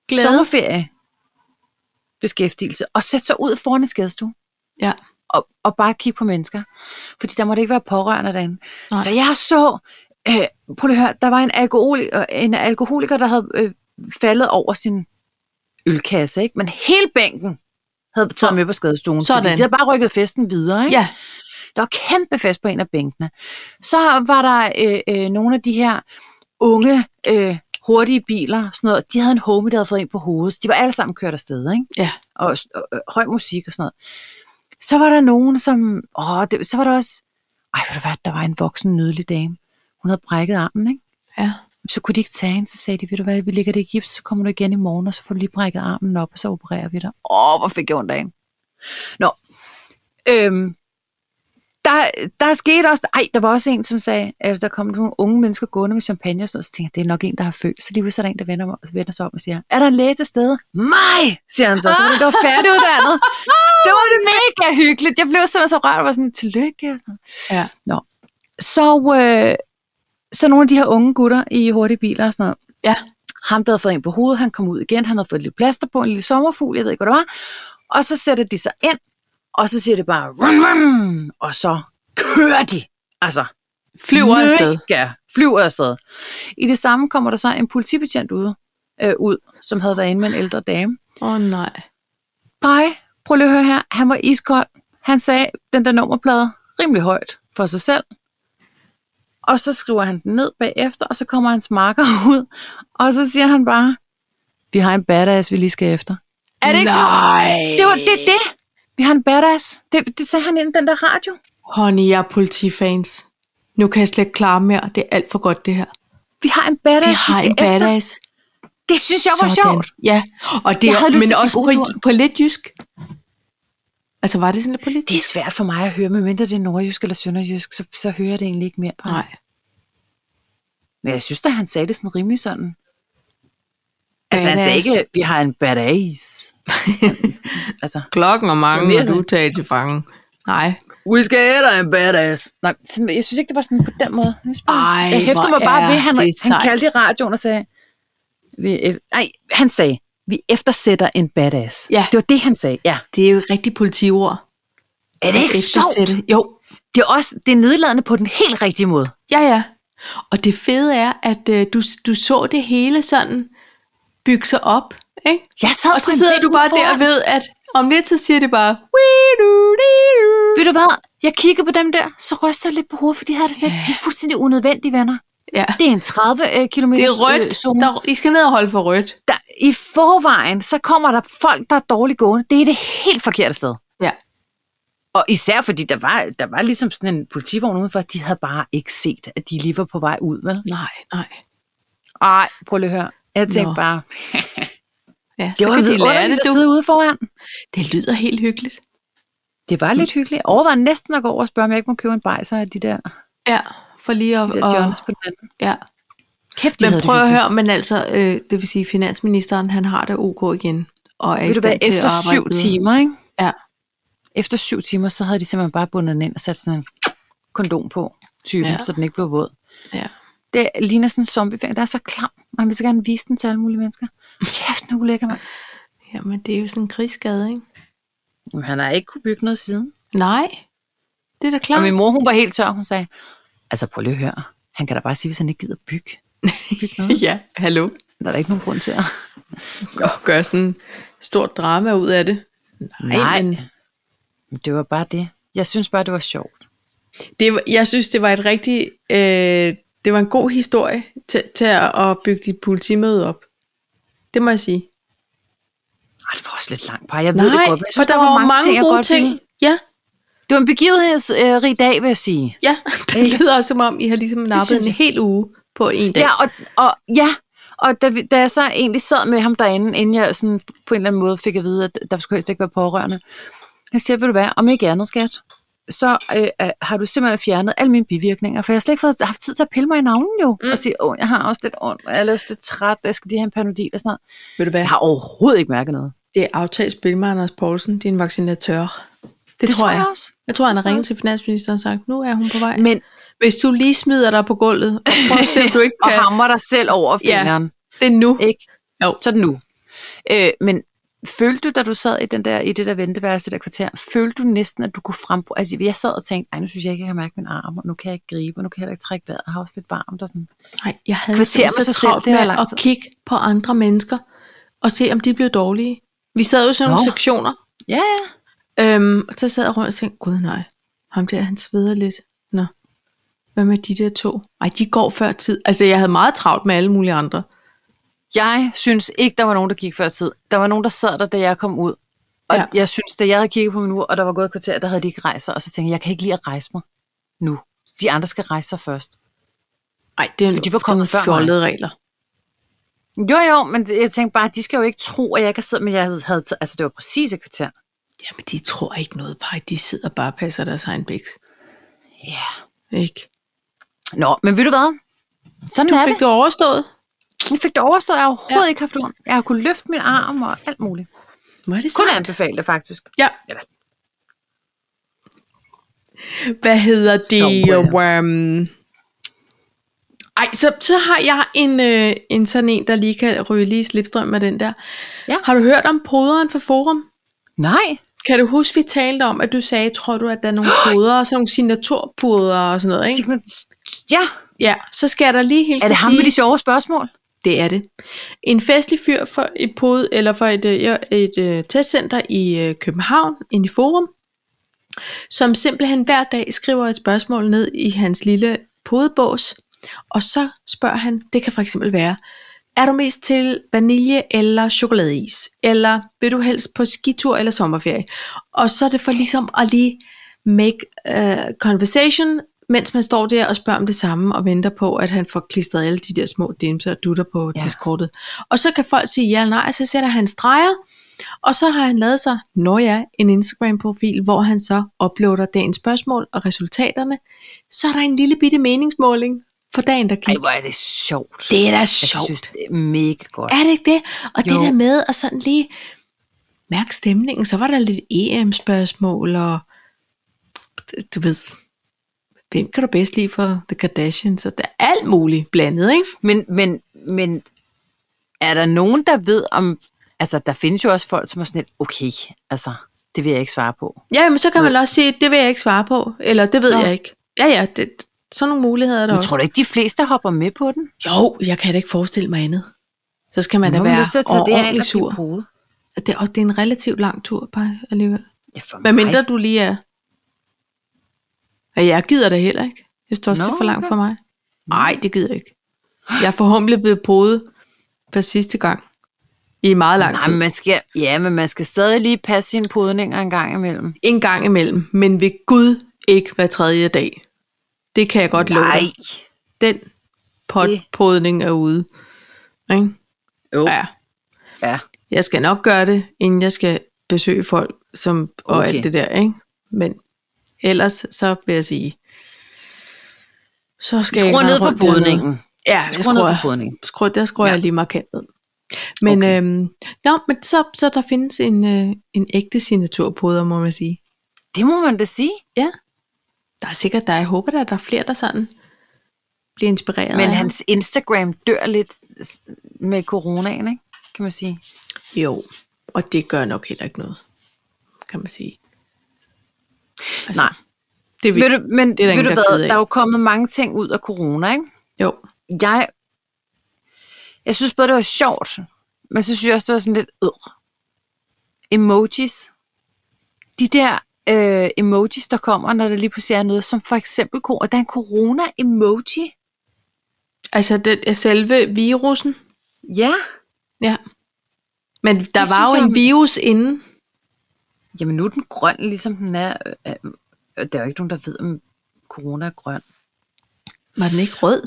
Speaker 1: Glæde.
Speaker 2: sommerferie beskæftigelse. Og sætte sig ud foran en skadestue
Speaker 1: Ja.
Speaker 2: og, og bare kigge på mennesker. Fordi der måtte ikke være pårørende derinde.
Speaker 1: Nej.
Speaker 2: Nej. Så jeg så, øh, prøv lige at høre, der var en, alkohol, øh, en alkoholiker, der havde øh, faldet over sin ølkasse, ikke? Men hele bænken havde taget med på skadestuen.
Speaker 1: Sådan.
Speaker 2: fordi De havde bare rykket festen videre, ikke?
Speaker 1: Ja,
Speaker 2: Der var kæmpe fest på en af bænkene. Så var der øh, øh, nogle af de her unge, øh, hurtige biler, sådan noget. De havde en homie, der havde fået en på hovedet. De var alle sammen kørt afsted, ikke?
Speaker 1: ja.
Speaker 2: og, og, og høj musik og sådan noget. Så var der nogen, som... Åh, det, så var der også... Ej, ved du hvad, der var en voksen nydelig dame. Hun havde brækket armen, ikke?
Speaker 1: Ja.
Speaker 2: Så kunne de ikke tage hende, så sagde de, ved du hvad, vi ligger det i gips, så kommer du igen i morgen, og så får du lige brækket armen op, og så opererer vi dig. Åh, hvor fik jeg ondt af hende. Nå. Øhm, der, der skete også, ej, der var også en, som sagde, at der kom nogle unge mennesker gående med champagne og sådan noget, så tænkte jeg, det er nok en, der har født. Så lige så er der en, der vender, mig, vender sig om og siger, er der en læge til stede? Mig, siger han så, så var det, der var færdiguddannet. det var mega hyggeligt. Jeg blev simpelthen så rørt og var sådan, tillykke og sådan
Speaker 1: ja.
Speaker 2: noget. Så, øh, så nogle af de her unge gutter i hurtige biler og sådan noget,
Speaker 1: Ja.
Speaker 2: ham, der havde fået en på hovedet, han kom ud igen, han havde fået lidt plaster på, en lille sommerfugl, jeg ved ikke, hvad det var. Og så sætter de sig ind, og så siger det bare, rum, rum, og så kører de. Altså,
Speaker 1: Flyver afsted.
Speaker 2: Mega. Flyver afsted. I det samme kommer der så en politibetjent ude, øh, ud, som havde været inde med en ældre dame.
Speaker 1: Åh oh, nej.
Speaker 2: Nej, prøv lige at høre her. Han var iskold. Han sagde den der nummerplade rimelig højt for sig selv. Og så skriver han den ned bagefter, og så kommer hans marker ud. Og så siger han bare, vi har en badass, vi lige skal efter. Er det ikke sjovt?
Speaker 1: Nej.
Speaker 2: Det var det, det. Vi har en badass. Det, det sagde han inden den der radio.
Speaker 1: Honey, jeg er politifans. Nu kan jeg slet ikke klare mere. Det er alt for godt, det her.
Speaker 2: Vi har en badass,
Speaker 1: Vi
Speaker 2: vi,
Speaker 1: har
Speaker 2: skal
Speaker 1: en
Speaker 2: efter.
Speaker 1: badass.
Speaker 2: Det synes jeg var
Speaker 1: Sådan.
Speaker 2: sjovt.
Speaker 1: Ja, og det
Speaker 2: Jeg
Speaker 1: er,
Speaker 2: havde lyst
Speaker 1: men
Speaker 2: til at sige
Speaker 1: også
Speaker 2: god
Speaker 1: på, på lidt jysk. Altså, var det sådan lidt på lidt
Speaker 2: Det er svært for mig at høre, medmindre det er nordjysk eller sønderjysk, så, så hører jeg det egentlig ikke mere. på.
Speaker 1: Nej.
Speaker 2: Men jeg synes da, han sagde det sådan rimelig sådan. Altså, han
Speaker 1: Badass.
Speaker 2: sagde ikke, vi har en badass. altså,
Speaker 1: Klokken og
Speaker 2: Det
Speaker 1: mange,
Speaker 2: var mere
Speaker 1: når du
Speaker 2: sådan-
Speaker 1: tager til fange. Nej.
Speaker 2: we skal have en badass. Nej, sådan, jeg synes ikke, det var sådan på den måde. Jeg synes bare-
Speaker 1: Ej,
Speaker 2: jeg hæfter
Speaker 1: hvor
Speaker 2: mig bare
Speaker 1: er
Speaker 2: ved, at han,
Speaker 1: det
Speaker 2: han
Speaker 1: sejt.
Speaker 2: kaldte i radioen og sagde, vi, ef- nej, han sagde, vi eftersætter en badass.
Speaker 1: Ja.
Speaker 2: Det var det, han sagde. Ja.
Speaker 1: Det er jo et rigtigt politiord.
Speaker 2: Er det ikke sjovt?
Speaker 1: Eftersætte. Jo,
Speaker 2: Det er, også, det er nedladende på den helt rigtige måde.
Speaker 1: Ja, ja. Og det fede er, at øh, du, du så det hele sådan bygge sig op, ikke?
Speaker 2: Jeg sad
Speaker 1: Og så
Speaker 2: på en
Speaker 1: sidder
Speaker 2: bænk
Speaker 1: du bare
Speaker 2: foran.
Speaker 1: der og ved, at om lidt, så siger det bare... "Wee-doo-dee-doo."
Speaker 2: Ved du hvad? Jeg kigger på dem der, så ryster jeg lidt på hovedet, fordi de havde det sådan, yeah. de er fuldstændig unødvendige venner.
Speaker 1: Ja.
Speaker 2: Det er en 30 øh, km
Speaker 1: Det er rødt.
Speaker 2: zone. Der,
Speaker 1: Der, I skal ned og holde for rødt.
Speaker 2: der, I forvejen, så kommer der folk, der er dårligt gående. Det er det helt forkerte sted.
Speaker 1: Ja.
Speaker 2: Og især fordi der var, der var ligesom sådan en politivogn udenfor, de havde bare ikke set, at de lige var på vej ud, vel?
Speaker 1: Nej, nej.
Speaker 2: Ej, prøv lige at høre. Jeg tænkte
Speaker 1: Nå.
Speaker 2: bare,
Speaker 1: Ja,
Speaker 2: det
Speaker 1: så
Speaker 2: var
Speaker 1: kan de lære det,
Speaker 2: vidunderligt at
Speaker 1: du.
Speaker 2: sidde ude foran.
Speaker 1: Det lyder helt hyggeligt.
Speaker 2: Det var lidt hyggeligt. Jeg overvejede næsten at gå over og spørge, om jeg ikke må købe en bajser af de der,
Speaker 1: Ja, for lige at...
Speaker 2: de der
Speaker 1: og,
Speaker 2: Johns på den anden.
Speaker 1: ja.
Speaker 2: Kæft, de
Speaker 1: Men
Speaker 2: havde det
Speaker 1: prøv at
Speaker 2: hyggeligt.
Speaker 1: høre, men altså, øh, det vil sige, finansministeren, han har det ok igen. Og er i
Speaker 2: Ved du hvad,
Speaker 1: stand til
Speaker 2: efter
Speaker 1: at arbejde
Speaker 2: syv
Speaker 1: videre.
Speaker 2: timer, ikke?
Speaker 1: Ja.
Speaker 2: Efter syv timer, så havde de simpelthen bare bundet den ind og sat sådan en kondom på typen, ja.
Speaker 1: Ja.
Speaker 2: så den ikke blev våd.
Speaker 1: Ja.
Speaker 2: Det ligner sådan en zombiefang, der er så klam. Man vil så gerne vise den til alle mulige mennesker. Kæft, nu lækker man.
Speaker 1: Jamen, det er jo sådan en krigsskade, ikke?
Speaker 2: Jamen, han har ikke kunne bygge noget siden.
Speaker 1: Nej. Det er da
Speaker 2: Og
Speaker 1: klart.
Speaker 2: min mor, hun var helt tør. Hun sagde, altså prøv lige at høre. Han kan da bare sige, hvis han ikke gider bygge. bygge noget.
Speaker 1: Ja, hallo.
Speaker 2: Der er der ikke nogen grund til at...
Speaker 1: Og gøre sådan et stort drama ud af det. Men
Speaker 2: Men det var bare det. Jeg synes bare, det var sjovt.
Speaker 1: det, var- jeg synes, det var et rigtig... Øh, det var en god historie til, til at at bygge dit politimøde op. Det må jeg sige.
Speaker 2: Ej, det var også lidt langt, par. Jeg ved det godt, men jeg synes,
Speaker 1: for der, var jo mange,
Speaker 2: jeg
Speaker 1: gode
Speaker 2: godt
Speaker 1: ting.
Speaker 2: ville.
Speaker 1: Ja,
Speaker 2: Det var en begivenhedsrig dag, vil jeg sige.
Speaker 1: ja.
Speaker 2: Ikke?
Speaker 1: Det lyder også, som om I har ligesom nappet
Speaker 2: synes
Speaker 1: en
Speaker 2: jeg.
Speaker 1: hel uge på en dag.
Speaker 2: Ja, og, og, ja. og da, vi, da jeg så egentlig sad med ham derinde, inden jeg sådan på en eller anden måde fik at vide, at der skulle helst ikke være pårørende, jeg siger, vil du være, om ikke andet, skat, så øh, øh, har du simpelthen fjernet alle mine bivirkninger, for jeg har slet ikke fået, haft tid til at pille mig i navnen jo, mm. og sige, åh, jeg har også lidt ondt, og jeg er også lidt træt, jeg skal lige have en panodil og sådan noget.
Speaker 1: Ved du hvad?
Speaker 2: Jeg har overhovedet ikke mærket noget.
Speaker 1: Det er aftalt spil med Anders Poulsen, din vaccinatør. Det, det tror jeg.
Speaker 2: også.
Speaker 1: Jeg tror, han
Speaker 2: Det
Speaker 1: har
Speaker 2: tror jeg
Speaker 1: ringet til finansministeren og sagt, nu er hun på vej.
Speaker 2: Men,
Speaker 1: Hvis du lige smider dig på gulvet, og prøver at se, om du ikke
Speaker 2: og
Speaker 1: kan. Øh,
Speaker 2: hammer dig selv over fingeren.
Speaker 1: Det er nu.
Speaker 2: Ikke?
Speaker 1: Jo.
Speaker 2: Så er det nu. Øh, men Følte du, da du sad i, den der, i det der venteværelse, der kvarter, følte du næsten, at du kunne frembruge... Altså, jeg sad og tænkte, ej, nu synes jeg ikke, jeg kan mærke min arm, og nu kan jeg ikke gribe, og nu kan jeg heller ikke trække vejret, og har også lidt varmt og sådan.
Speaker 1: Nej, jeg havde
Speaker 2: Kvarter
Speaker 1: simpelthen
Speaker 2: med sig
Speaker 1: så
Speaker 2: selv,
Speaker 1: travlt
Speaker 2: det var
Speaker 1: med
Speaker 2: lang
Speaker 1: at
Speaker 2: tid.
Speaker 1: kigge på andre mennesker, og se om de blev dårlige. Vi sad jo i sådan nogle
Speaker 2: Nå.
Speaker 1: sektioner,
Speaker 2: Ja, ja.
Speaker 1: Øhm, og så sad jeg rundt og tænkte, gud nej, ham der, han sveder lidt. Nå, hvad med de der to? Ej, de går før tid. Altså, jeg havde meget travlt med alle mulige andre.
Speaker 2: Jeg synes ikke, der var nogen, der gik før tid. Der var nogen, der sad der, da jeg kom ud. Og
Speaker 1: Ja.
Speaker 2: ja. jeg synes, da jeg havde kigget på min ur, og der var gået et kvarter, der havde de ikke rejst sig. Og så tænkte jeg, jeg kan ikke lide at rejse mig nu. De andre skal rejse sig først.
Speaker 1: Ej, det er
Speaker 2: De var kommet
Speaker 1: det er nogle
Speaker 2: før mig.
Speaker 1: fjollede regler.
Speaker 2: Jo, jo, men jeg tænkte bare, de skal jo ikke tro, at jeg ikke har siddet, men jeg havde, havde taget- altså det var præcis et kvarter.
Speaker 1: Jamen, de tror ikke noget, Paj. De sidder bare og passer deres egen biks.
Speaker 2: Ja. Yeah.
Speaker 1: Ikke?
Speaker 2: Nå, men ved du hvad? Sådan
Speaker 1: Du
Speaker 2: er
Speaker 1: fik
Speaker 2: det.
Speaker 1: det overstået.
Speaker 2: Jeg fik det overstået. Jeg har overhovedet ja. ikke haft ondt. Jeg har kunnet løfte min arm og alt muligt.
Speaker 1: Hvor er det
Speaker 2: Kun
Speaker 1: sejt.
Speaker 2: anbefale det, faktisk.
Speaker 1: Ja.
Speaker 2: Eller-
Speaker 1: Hvad hedder det?
Speaker 2: Så
Speaker 1: Um... Ej, så, så har jeg en, øh, en sådan en, der lige kan ryge lige i slipstrøm med den der.
Speaker 2: Ja.
Speaker 1: Har du hørt om poderen fra Forum?
Speaker 2: Nej.
Speaker 1: Kan du huske, vi talte om, at du sagde, tror du, at der er nogle koder, sådan nogle signaturpoder og sådan noget, ikke?
Speaker 2: Signa- Ja.
Speaker 1: Ja, så skal jeg da lige hilse
Speaker 2: Er det
Speaker 1: og
Speaker 2: ham
Speaker 1: sige,
Speaker 2: med de sjove spørgsmål?
Speaker 1: det er det. En festlig fyr for et pod, eller for et, et, et øh, testcenter i øh, København, ind i Forum, som simpelthen hver dag skriver et spørgsmål ned i hans lille podebås, og så spørger han, det kan for eksempel være, er du mest til vanilje eller chokoladeis? Eller vil du helst på skitur eller sommerferie? Og så er det for ligesom at lige make uh, conversation, mens man står der og spørger om det samme, og venter på, at han får klistret alle de der små dimser og dutter på ja.
Speaker 2: Ja.
Speaker 1: testkortet. Og så kan folk sige ja eller nej, og så sætter han streger, og så har han lavet sig, når ja, en Instagram-profil, hvor han så uploader dagens spørgsmål og resultaterne. Så er der en lille bitte meningsmåling for dagen, der gik.
Speaker 2: Ej, hvor er det sjovt.
Speaker 1: Det er da
Speaker 2: Jeg
Speaker 1: sjovt.
Speaker 2: synes, det er mega godt.
Speaker 1: Er det ikke det? Og jo. det
Speaker 2: Jo.
Speaker 1: der med at sådan lige mærke stemningen, så var der lidt EM-spørgsmål, og du ved, hvem kan du bedst lide for The Kardashians? Og der er alt muligt blandet, ikke?
Speaker 2: Men, men, men er der nogen, der ved om... Altså, der findes jo også folk, som er sådan lidt, okay, altså, det vil jeg ikke svare på.
Speaker 1: Ja, men så kan man også sige, det vil jeg ikke svare på, eller det ved
Speaker 2: Nå.
Speaker 1: jeg ikke. Ja, ja, det, sådan nogle muligheder er der
Speaker 2: Men
Speaker 1: også.
Speaker 2: tror du ikke, de fleste hopper med på den?
Speaker 1: Jo, jeg kan da ikke forestille mig andet. Så skal man da
Speaker 2: Nu har man
Speaker 1: være
Speaker 2: lyst til at tage det af
Speaker 1: ordentligt
Speaker 2: eller
Speaker 1: sur.
Speaker 2: blive podet.
Speaker 1: Det, er- og det er en relativt lang tur, bare alligevel.
Speaker 2: Ja, for
Speaker 1: Hvad
Speaker 2: mig.
Speaker 1: mindre du lige er... Ja, jeg gider det heller ikke. Jeg synes også, det er
Speaker 2: Nå,
Speaker 1: for langt
Speaker 2: okay.
Speaker 1: for mig. Nej, det gider jeg ikke. Jeg er forhåbentlig blevet podet for sidste gang. I meget lang
Speaker 2: Nej,
Speaker 1: tid.
Speaker 2: men man skal, ja, men man skal stadig lige passe sine podninger en gang imellem.
Speaker 1: En gang imellem, men ved Gud ikke hver tredje dag. Det kan jeg godt love dig. Den
Speaker 2: Det-
Speaker 1: potpodning er ude. Ikke?
Speaker 2: Jo.
Speaker 1: Ja.
Speaker 2: Ja.
Speaker 1: Jeg skal nok gøre det, inden jeg skal besøge folk som, og okay.
Speaker 2: Okay.
Speaker 1: alt det der. Ikke? Men ellers så vil jeg sige, så skal jeg
Speaker 2: Skru
Speaker 1: ikke rende
Speaker 2: ned for
Speaker 1: rundt dernede.
Speaker 2: podningen.
Speaker 1: Ja, jeg
Speaker 2: Skru ned for
Speaker 1: skruer,
Speaker 2: podningen.
Speaker 1: skruer, der skruer ja.
Speaker 2: Ja.
Speaker 1: jeg lige markant ned. Men,
Speaker 2: Okay.
Speaker 1: okay. øhm, no, men så, så der findes en, øh, en ægte signaturpoder, må man sige.
Speaker 2: Det må man da sige.
Speaker 1: Der er sikkert, der jeg håber, der, der er flere, der sådan bliver inspireret
Speaker 2: Men
Speaker 1: af
Speaker 2: hans Instagram dør lidt s- med coronaen, ikke? kan man sige.
Speaker 1: ham. Jo, og det gør nok heller ikke noget, kan man sige. Altså,
Speaker 2: Nej.
Speaker 1: Det vil,
Speaker 2: Ved du, men
Speaker 1: det er der
Speaker 2: ved
Speaker 1: ingen,
Speaker 2: du
Speaker 1: der er
Speaker 2: hvad,
Speaker 1: ked af.
Speaker 2: der er jo kommet mange ting ud af corona, ikke?
Speaker 1: Jo,
Speaker 2: Jeg, jeg synes både, det var sjovt, men så synes jeg også, det var sådan lidt øh. Emojis. De der øh, emojis, der kommer, når der lige pludselig er noget, som for eksempel, ko- og der er en corona-emoji.
Speaker 1: altså den, selve virusen,
Speaker 2: Ja.
Speaker 1: ja. Men der
Speaker 2: Det
Speaker 1: var
Speaker 2: synes
Speaker 1: jo
Speaker 2: jeg-
Speaker 1: en virus inden.
Speaker 2: Jamen nu er den grøn, ligesom den er. Øh, øh, øh, Der er jo ikke nogen, der ved, om corona er grøn.
Speaker 1: Var den ikke rød?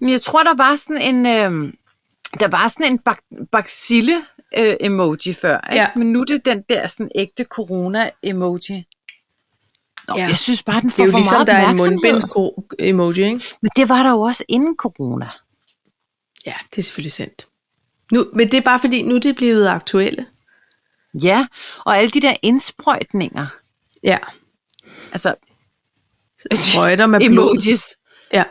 Speaker 2: Men jeg tror, der var sådan en, øh, der var sådan en bak, baxille øh, emoji før, ikke?
Speaker 1: Ja.
Speaker 2: men nu er det den der sådan ægte corona emoji. Nå,
Speaker 1: Ja.
Speaker 2: ja. jeg synes bare, den
Speaker 1: Det
Speaker 2: får
Speaker 1: er jo
Speaker 2: for
Speaker 1: ligesom,
Speaker 2: meget
Speaker 1: der er en
Speaker 2: opmærksomhed.
Speaker 1: mundbinds-emoji, ikke?
Speaker 2: Men det var der jo også inden corona.
Speaker 1: Ja, det er selvfølgelig sandt. Nu, men det er bare fordi, nu er det blevet aktuelle.
Speaker 2: Ja, og alle de der indsprøjtninger.
Speaker 1: Ja.
Speaker 2: Altså,
Speaker 1: Sprøjter med blod.
Speaker 2: emojis.
Speaker 1: Ja.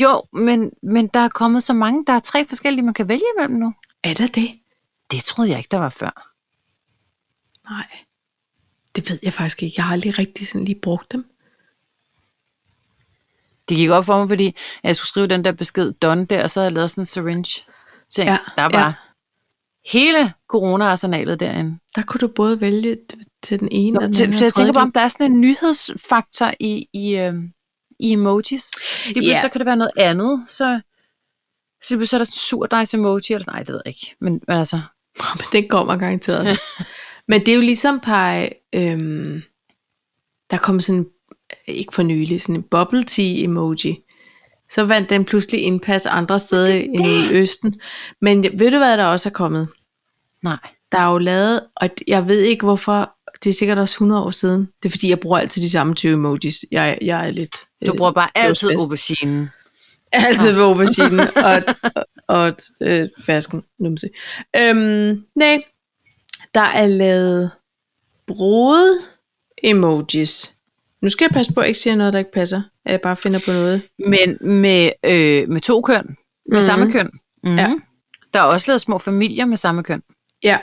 Speaker 2: Jo, men, men der er kommet så mange. Der er tre forskellige, man kan vælge imellem nu.
Speaker 1: Er der det?
Speaker 2: Det troede jeg ikke, der var før.
Speaker 1: Nej, det ved jeg faktisk ikke. Jeg har aldrig rigtig sådan lige brugt dem.
Speaker 2: Det gik op for mig, fordi jeg skulle skrive den der besked Don der, og så havde jeg lavet sådan en syringe ting.
Speaker 1: Ja,
Speaker 2: Ja, der var ja. hele corona-arsenalet derinde.
Speaker 1: Der kunne du både vælge t- til den ene og
Speaker 2: Nå,
Speaker 1: den
Speaker 2: så,
Speaker 1: anden.
Speaker 2: så jeg
Speaker 1: og tredje
Speaker 2: tænker bare,
Speaker 1: del.
Speaker 2: om der er sådan en nyhedsfaktor i, i, øhm, i emojis. Det
Speaker 1: Ja.
Speaker 2: yeah. så kan det være noget andet, så, så, lige pludselig så er der sådan en surdejs-emoji, eller sådan- nej, det ved jeg ikke. Men, men altså,
Speaker 1: Men den kommer garanteret. Men det er jo ligesom pege, øhm, der kom sådan, ikke for nylig, sådan en bubble tea emoji. Så vandt den pludselig indpas andre steder end i Østen. Men ved du hvad der også er kommet?
Speaker 2: nej.
Speaker 1: Der er jo lavet, og jeg ved ikke hvorfor, det er sikkert også 100 år siden. Det er fordi, jeg bruger altid de samme 20 emojis. Jeg, jeg er lidt...
Speaker 2: Du
Speaker 1: øh,
Speaker 2: bruger bare altid
Speaker 1: dåsfest.
Speaker 2: auberginen.
Speaker 1: Altid ved auberginen og, og øh, fersken numse. Øhm, nej, der er lavet brode emojis. Nu skal jeg passe på, at jeg ikke siger noget, der ikke passer. At jeg bare finder på noget.
Speaker 2: Men med, øh, med to køn. Med mm-hmm. samme køn. Mm-hmm.
Speaker 1: Ja.
Speaker 2: Der er også lavet små familier med samme køn.
Speaker 1: Ja.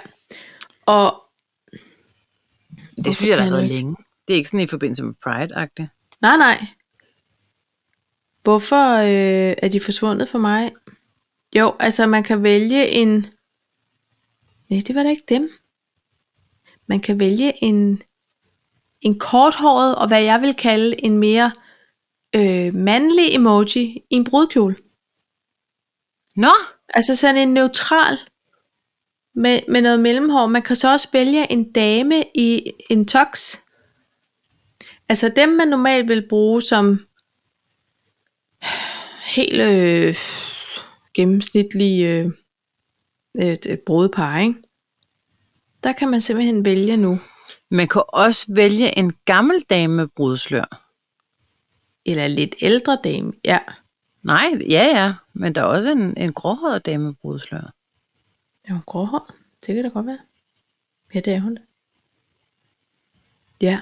Speaker 1: Og
Speaker 2: Det synes jeg, der har
Speaker 1: kan
Speaker 2: været
Speaker 1: du
Speaker 2: længe. Det er ikke sådan i forbindelse med Pride-agtigt.
Speaker 1: nej, nej. Hvorfor øh, er de forsvundet for mig? Jo, altså man kan vælge en... Nej, det var da ikke dem. Man kan vælge en, en korthåret, og hvad jeg vil kalde en mere øh, mandlig emoji i en brudkjole.
Speaker 2: Nå,
Speaker 1: Altså sådan en neutral med, med noget mellemhår. Man kan så også vælge en dame i en tux. Altså dem, man normalt vil bruge som helt øh, gennemsnitlige øh, et, et brudepar, ikke? Der kan man simpelthen vælge nu.
Speaker 2: man kan også vælge en gammel dame med brudslør.
Speaker 1: Eller lidt ældre dame, ja.
Speaker 2: Nej, ja ja, men der er også en, en gråhåret dame med brudslør.
Speaker 1: Er hun gråhåret? Det kan da godt være. Ja, det er hun da. Ja.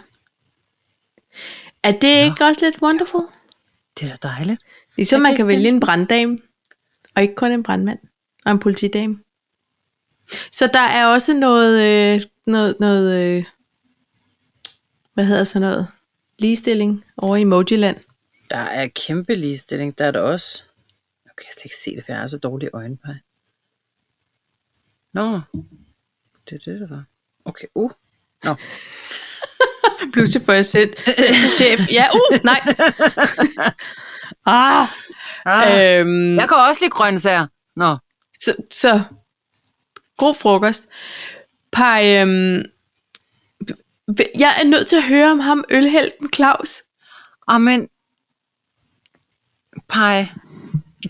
Speaker 1: Er det ja. ikke også lidt wonderful?
Speaker 2: Det er da dejligt.
Speaker 1: Ligesom man
Speaker 2: kan
Speaker 1: kan
Speaker 2: ikke
Speaker 1: vælge en branddame, og ikke kun en brandmand, og en politidame. Så der er også noget, øh, noget, noget øh, hvad hedder sådan noget, ligestilling over i Emojiland.
Speaker 2: Der er kæmpe ligestilling. Der er der også... Nu kan jeg slet ikke se det, for jeg har så dårlige øjenpege. Nå, det er det, der var. Okay, uh. Nå.
Speaker 1: Pludselig får jeg sendt, sendt til chef. Ja, uh, nej. ah,
Speaker 2: Ah, øh,
Speaker 1: øhm,
Speaker 2: jeg kan også lide grøntsager. Nå,
Speaker 1: Så, så god frokost. Pej, øhm, v- jeg er nødt til at høre om ham, ølhelten Claus.
Speaker 2: Og men, Pai,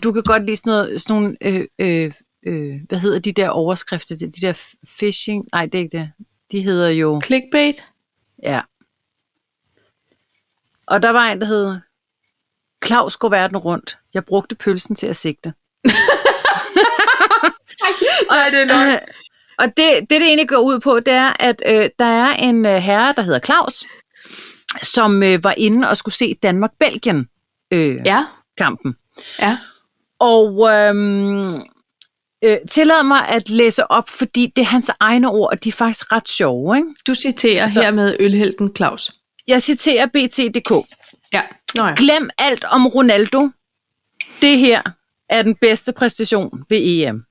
Speaker 2: du kan godt lide sådan, noget, sådan nogle, øh, øh, øh, hvad hedder de der overskrifter, de, de der f- phishing, nej det er ikke det, de hedder jo,
Speaker 1: Clickbait.
Speaker 2: ja. Og der var en, der hed, Claus går verden rundt, jeg brugte pølsen til at sigte.
Speaker 1: Nej, det er
Speaker 2: Øh, Og det, det, det egentlig går ud på, det er, at øh, der er en øh, herre, der hedder Claus, som øh, var inde og skulle se Danmark-Belgien-kampen. Øh,
Speaker 1: Ja,
Speaker 2: kampen.
Speaker 1: ja.
Speaker 2: Og øhm, øh, tillad mig at læse op, fordi det er hans egne ord, og de er faktisk ret sjove. Ikke?
Speaker 1: Du citerer
Speaker 2: Så-
Speaker 1: så. hermed ølhelten Claus.
Speaker 2: Jeg citerer BT.dk.
Speaker 1: Ja. Nå ja.
Speaker 2: Glem alt om Ronaldo. Det her er den bedste præstation ved EM.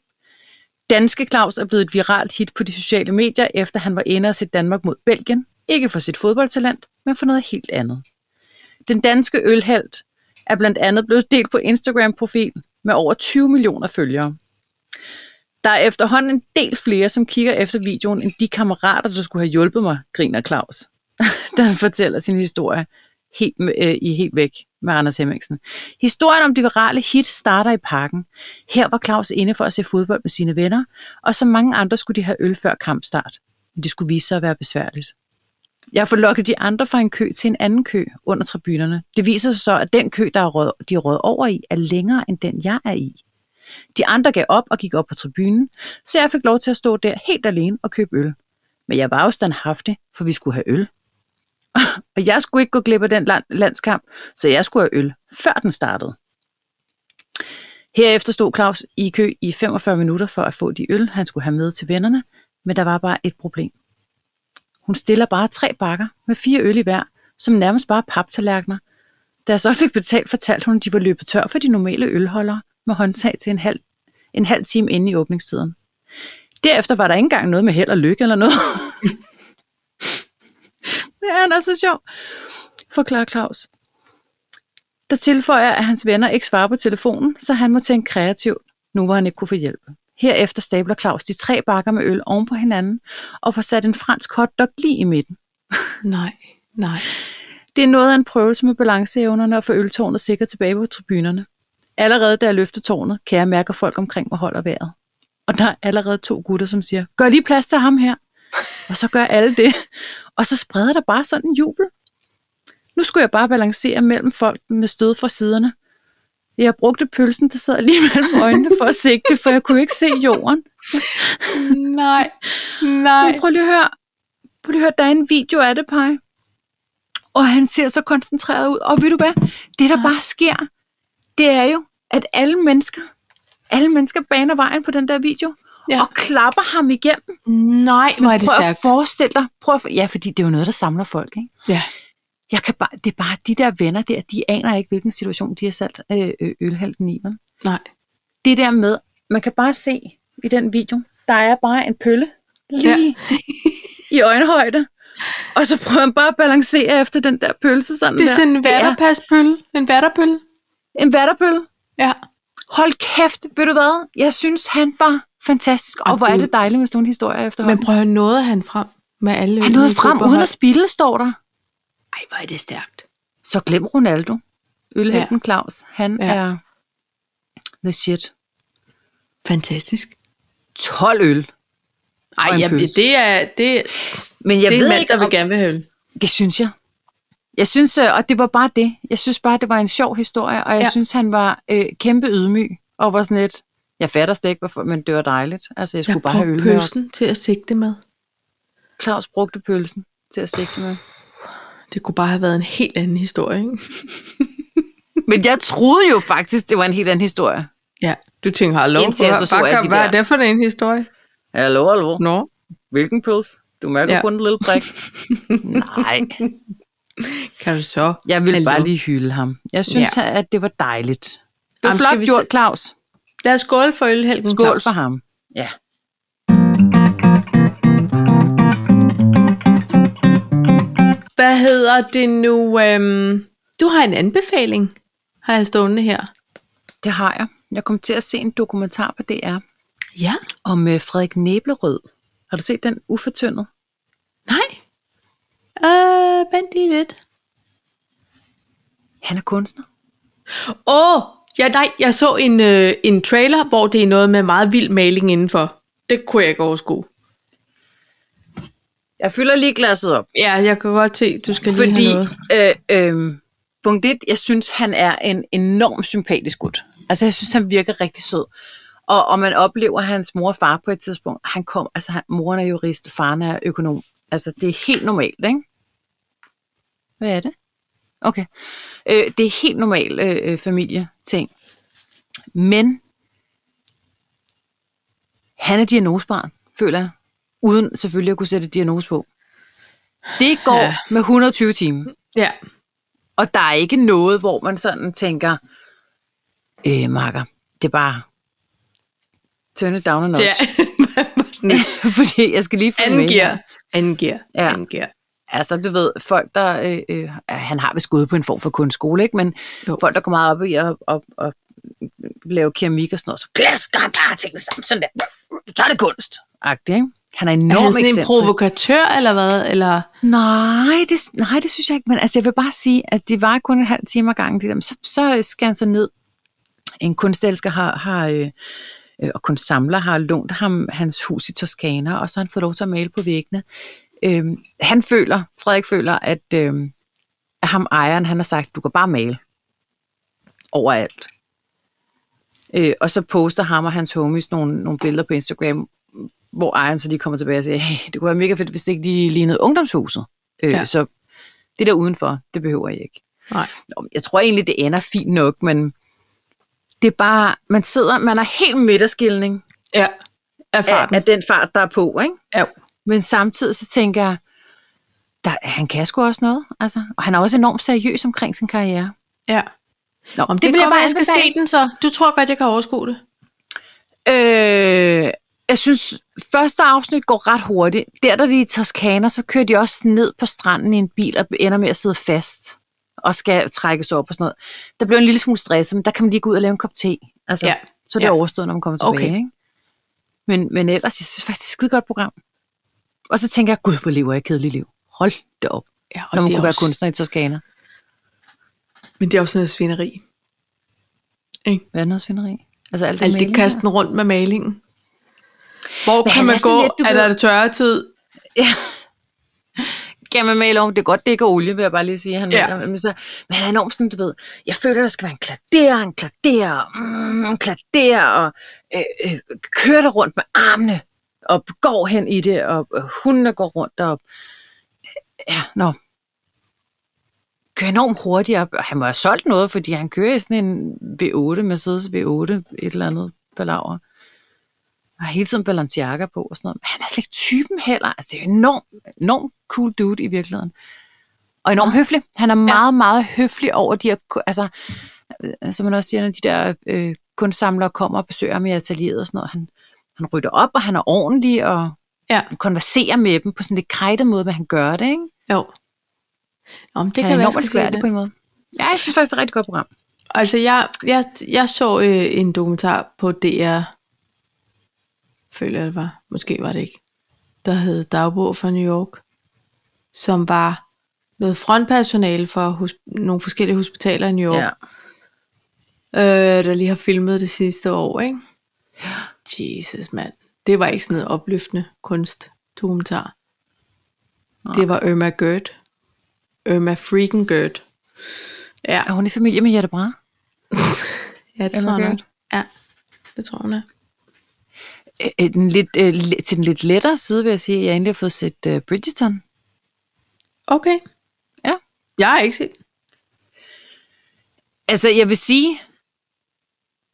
Speaker 2: Danske Claus er blevet et viralt hit på de sociale medier, efter han var inde og se Danmark mod Belgien. Ikke for sit fodboldtalent, men for noget helt andet. Den danske ølhelt er blandt andet blevet delt på Instagram-profil med over 20 millioner følgere. Der er efterhånden en del flere, som kigger efter videoen, end de kammerater, der skulle have hjulpet mig, griner Claus, da han fortæller sin historie helt, med- øh, i Helt Væk med Anders Hemmingsen. Historien om de virale hit starter i parken. Her var Claus inde for at se fodbold med sine venner, og som mange andre skulle de have øl før kampstart. Men det skulle vise sig at være besværligt. Jeg får lukket de andre fra en kø til en anden kø under tribunerne. Det viser sig så, at den kø, der er rød, de er rød over i, er længere end den, jeg er i. De andre gav op og gik op på tribunen, så jeg fik lov til at stå der helt alene og købe øl. Men jeg var jo standhaftig, for vi skulle have øl. og jeg skulle ikke gå glip af den land- landskamp, så jeg skulle have øl, før den startede. Herefter stod Claus i kø i 45 minutter for at få de øl, han skulle have med til vennerne, men der var bare et problem. Hun stiller bare tre bakker med fire øl i hver, som nærmest bare paptallerkener. Da jeg så fik betalt, fortalte hun, at de var løbet tør for de normale ølholdere med håndtag til en halv, en halv time inde i åbningstiden. Derefter var der ikke engang noget med held og lykke eller noget. Men han er så sjov, forklarer Claus. Der tilføjer, at hans venner ikke svarer på telefonen, så han må tænke kreativt, nu hvor han ikke kunne få hjælp. Herefter stabler Claus de tre bakker med øl oven på hinanden og får sat en fransk hotdog lige i midten.
Speaker 1: Nej, nej.
Speaker 2: Det er noget af en prøvelse med balanceevnerne og få øltårnet sikkert tilbage på tribunerne. Allerede da jeg løfter tårnet, kan jeg mærke, at folk omkring mig holder vejret. Og der er allerede to gutter, som siger, gør lige plads til ham her. Og så gør alle det. Og så spreder der bare sådan en jubel. Nu skulle jeg bare balancere mellem folk med stød fra siderne. Jeg brugte pølsen, der sad lige mellem øjnene for at sigte, for jeg kunne ikke se jorden.
Speaker 1: Nej,
Speaker 2: Men
Speaker 1: nej.
Speaker 2: prøv lige at høre. Prøv lige at høre, der er en video af det, Paj. Og han ser så koncentreret ud. Og ved du hvad? Det, der
Speaker 1: Ja.
Speaker 2: bare sker, det er jo, at alle mennesker, alle mennesker baner vejen på den der video.
Speaker 1: Ja.
Speaker 2: Ja. Og klapper ham igennem.
Speaker 1: Nej, hvor er det
Speaker 2: Prøv at
Speaker 1: stærkt.
Speaker 2: forestille dig. Prøv at for... Ja, fordi det er jo noget, der samler folk, ikke?
Speaker 1: Ja.
Speaker 2: Jeg kan bare, det er bare de der venner der, de aner ikke, hvilken situation de har sat øh, øh, ølhalten i. Vel?
Speaker 1: Nej.
Speaker 2: det der med, man kan bare se i den video, der er bare en pølle lige ja. i øjenhøjde. Og så prøver han bare at balancere efter den der pølse sådan
Speaker 1: Det er
Speaker 2: der.
Speaker 1: sådan en
Speaker 2: Det er
Speaker 1: vatterpaspølle. En vatterpølle.
Speaker 2: en vatterpølle.
Speaker 1: Ja.
Speaker 2: Hold kæft, ved du hvad? Jeg synes, han var fantastisk. Og,
Speaker 1: Og
Speaker 2: hvor er
Speaker 1: det-
Speaker 2: det dejligt med sådan nogle historier
Speaker 1: Men
Speaker 2: efterhånden.
Speaker 1: prøv at høre, nåede han frem med alle
Speaker 2: han nåede frem uden at spille, står der.
Speaker 1: Ej, hvor er det stærkt.
Speaker 2: Så glem Ronaldo. Ølhelten ja. Claus, han
Speaker 1: Ja.
Speaker 2: ja. er the shit.
Speaker 1: Fantastisk.
Speaker 2: 12 øl.
Speaker 1: Ej,
Speaker 2: Og en
Speaker 1: jeg,
Speaker 2: pølse.
Speaker 1: det er, det,
Speaker 2: Men jeg
Speaker 1: det er en
Speaker 2: ved
Speaker 1: mand,
Speaker 2: ikke,
Speaker 1: der
Speaker 2: om,
Speaker 1: vil gerne vil have øl.
Speaker 2: Det synes jeg. Jeg synes, øh, og det var bare det. Jeg synes bare, det var en sjov historie, og jeg
Speaker 1: Ja.
Speaker 2: ja. synes, han var øh, kæmpe ydmyg og var sådan lidt, jeg fatter slet ikke, hvorfor, men det var dejligt. Altså, jeg skulle
Speaker 1: Jeg
Speaker 2: bare have øl
Speaker 1: brugte
Speaker 2: med.
Speaker 1: pølsen til at sigte med.
Speaker 2: Claus brugte pølsen til at sigte med.
Speaker 1: Det kunne bare have været en helt anden historie, ikke?
Speaker 2: Men jeg troede jo faktisk, det var en helt anden historie.
Speaker 1: Ja, du tænker, hallo,
Speaker 2: Indtil jeg så så alle de
Speaker 1: hvad er
Speaker 2: der-
Speaker 1: det for en historie?
Speaker 2: Hallo, hallo.
Speaker 1: Nå,
Speaker 2: Hvilken pølse? Du mærker
Speaker 1: Ja.
Speaker 2: kun en lille prik. Nej,
Speaker 1: kan du så?
Speaker 2: jeg vil
Speaker 1: Hallo.
Speaker 2: bare lige hylde ham. Jeg synes, ja. at det var dejligt. Det var
Speaker 1: Jamen, skal
Speaker 2: flot
Speaker 1: vi
Speaker 2: gjort,
Speaker 1: se-
Speaker 2: Claus.
Speaker 1: Lad os skåle for ølhelgen,
Speaker 2: Skål
Speaker 1: Claus.
Speaker 2: for ham. Ja.
Speaker 1: Hvad hedder det nu? Øhm, du har en anbefaling, har jeg stående her.
Speaker 2: Det har jeg. Jeg kom til at se en dokumentar på DR
Speaker 1: Ja.
Speaker 2: om øh, Frederik Næblerød. Har du set den ufortyndet?
Speaker 1: Nej. Øh, vent lige lidt.
Speaker 2: Han er kunstner.
Speaker 1: Åh, oh, ja, nej, jeg så en, øh, en trailer, hvor det er noget med meget vild maling indenfor. Det kunne jeg ikke overskue.
Speaker 2: Jeg fylder lige glasset op,
Speaker 1: Ja, jeg kan godt se, du skal lige
Speaker 2: fordi
Speaker 1: have noget.
Speaker 2: øh, øh, punkt et, jeg synes, han er en enorm sympatisk gut. Altså, jeg synes, han virker rigtig sød. Og, og man oplever hans mor og far på et tidspunkt. Han kom, altså, han, moren er jurist, faren er økonom. Altså, det er helt normalt, ikke? Hvad er det? Okay. Øh, det er helt normal øh, øh, familieting. Men han er diagnosebarn, føler jeg. Uden selvfølgelig at kunne sætte diagnose på. Det går
Speaker 1: Ja.
Speaker 2: ja. med 120 timer.
Speaker 1: Ja,
Speaker 2: Og der er ikke noget, hvor man sådan tænker, øh, Marker, det er bare turn it down a notch.
Speaker 1: det er sådan et
Speaker 2: Fordi jeg skal lige følge
Speaker 1: anden
Speaker 2: med. her.
Speaker 1: gear. Anden gear.
Speaker 2: Ja.
Speaker 1: Anden gear.
Speaker 2: Altså, du ved, folk der... Øh, øh, han har vist gået på en form for kunstskole, ikke? Men
Speaker 1: Jo.
Speaker 2: jo. folk, der går meget op i at, at, at lave keramik og sådan noget, så glasker han bare tingene sammen sådan der. Så er det kunst. Agtig, ikke? Han er
Speaker 1: Er
Speaker 2: enormt
Speaker 1: han sådan en
Speaker 2: ekscentrisk.
Speaker 1: provokatør, eller hvad? Eller...
Speaker 2: Nej det, nej, det synes jeg ikke. Men altså, jeg vil bare sige, at det var kun en halv time ad gangen. Det der. Men Så, så skal han så ned. En kunstelsker har, har øh, øh, og kunstsamler har lånt ham hans hus i Toskana, og så har han fået lov til at male på væggene. Øhm, han føler, Frederik føler, at, øhm, at ham ejeren, han har sagt, du kan bare male overalt. Øh, og så poster ham og hans homies nogle, nogle billeder på Instagram, hvor ejeren så lige kommer tilbage og siger, hey, det kunne være mega fedt, hvis det ikke lige lignede ungdomshuset. Øh,
Speaker 1: Ja.
Speaker 2: ja. Så det der udenfor, det behøver jeg ikke.
Speaker 1: Nej.
Speaker 2: Nå, men Jeg tror egentlig, det ender fint nok, men Det er bare, man sidder, man er helt midterskilning
Speaker 1: Ja,
Speaker 2: af,
Speaker 1: erfaren.
Speaker 2: af den fart, der er på, ikke?
Speaker 1: Ja.
Speaker 2: Men samtidig så tænker jeg, der, han kan sgu også noget, altså. Og han er også enormt seriøs omkring sin karriere.
Speaker 1: ja.
Speaker 2: Nå,
Speaker 1: Om det, det bliver
Speaker 2: kommer
Speaker 1: bare, jeg skal
Speaker 2: anbefale.
Speaker 1: se den så. Du tror godt, jeg kan overskue det.
Speaker 2: Øh, jeg synes, første afsnit går ret hurtigt. Der, der de er i Toskana, så kører de også ned på stranden i en bil og ender med at sidde fast og skal trækkes op og sådan noget. Der blev en lille smule stresset, men der kan man lige gå ud og lave en kop te. Altså,
Speaker 1: Ja.
Speaker 2: ja. Så er det
Speaker 1: Ja.
Speaker 2: ja. overstået, når man kommer tilbage.
Speaker 1: Okay.
Speaker 2: Okay. Ikke? Men, men ellers, jeg synes faktisk, det er et skide godt program. Og så tænker jeg, gud, hvor lever jeg et kedeligt liv. Hold da op,
Speaker 1: Ja,
Speaker 2: når man
Speaker 1: det er
Speaker 2: kunne være
Speaker 1: også-
Speaker 2: kunstner i Toskana.
Speaker 1: Men det er også noget svineri.
Speaker 2: Hvad er noget svineri? Altså alt det,
Speaker 1: Alt det
Speaker 2: maling
Speaker 1: kasten rundt med malingen. Hvor
Speaker 2: Men
Speaker 1: kan
Speaker 2: han
Speaker 1: man
Speaker 2: er sådan
Speaker 1: gå?
Speaker 2: lidt, du
Speaker 1: er
Speaker 2: ved-
Speaker 1: der tørre tid?
Speaker 2: kan man male om. Det er godt, det ikke er olie, vil jeg bare lige sige. Han
Speaker 1: Ja.
Speaker 2: ja. maler, men, så, men han er enormt sådan, du ved, jeg føler, der skal være en klader, en klader, mm, en klader, og øh, øh, kører det rundt med armene, og går hen i det, og øh, hundene går rundt, og ja, nå. Kører enormt hurtigt op. Og Han må have solgt noget, fordi han kører i sådan en V8, Mercedes V8, et eller andet palaver. Og har hele tiden Balenciaga på og sådan noget. Men han er slet ikke typen heller. Altså, det er jo enormt, enormt cool dude i virkeligheden. Og enormt høflig. Han er meget, ja. meget høflig over de her, ku- altså, øh, som man også siger, når de der øh, kunstsamlere kommer og besøger ham i atelieret og sådan noget. Han, han rydder op, og han er ordentlig, og
Speaker 1: Ja.
Speaker 2: konverserer med dem på sådan lidt krejtet måde, men han gør det, ikke?
Speaker 1: Jo. Nå, men det
Speaker 2: Det
Speaker 1: kan
Speaker 2: kan
Speaker 1: være,
Speaker 2: enormt
Speaker 1: jeg skal se
Speaker 2: svært på
Speaker 1: det.
Speaker 2: en måde. Ja, jeg synes faktisk, det er et rigtig godt program.
Speaker 1: Altså, jeg, jeg, jeg så øh, en dokumentar på DR, føler jeg det var, måske var det ikke, der hed Dagbog fra New York, som var noget frontpersonale for hos, nogle forskellige hospitaler i New York,
Speaker 2: Ja.
Speaker 1: øh, der lige har filmet det sidste år, ikke? Jesus, mand. Det var ikke sådan noget opløftende kunstdokumentar.
Speaker 2: Nej.
Speaker 1: Det var Irma Gerd. Irma freaking Gerd. Ja,
Speaker 2: Er hun i familie med Jette Brahe?
Speaker 1: ja det
Speaker 2: Irma
Speaker 1: tror jeg nok.
Speaker 2: Gerd.
Speaker 1: Ja, det tror hun er.
Speaker 2: Øh, øh, den lidt, øh, le- til den lidt lettere side vil jeg sige, at jeg endelig har fået set øh, Bridgerton.
Speaker 1: Okay.
Speaker 2: Ja.
Speaker 1: Jeg har ikke set.
Speaker 2: Altså, jeg vil sige,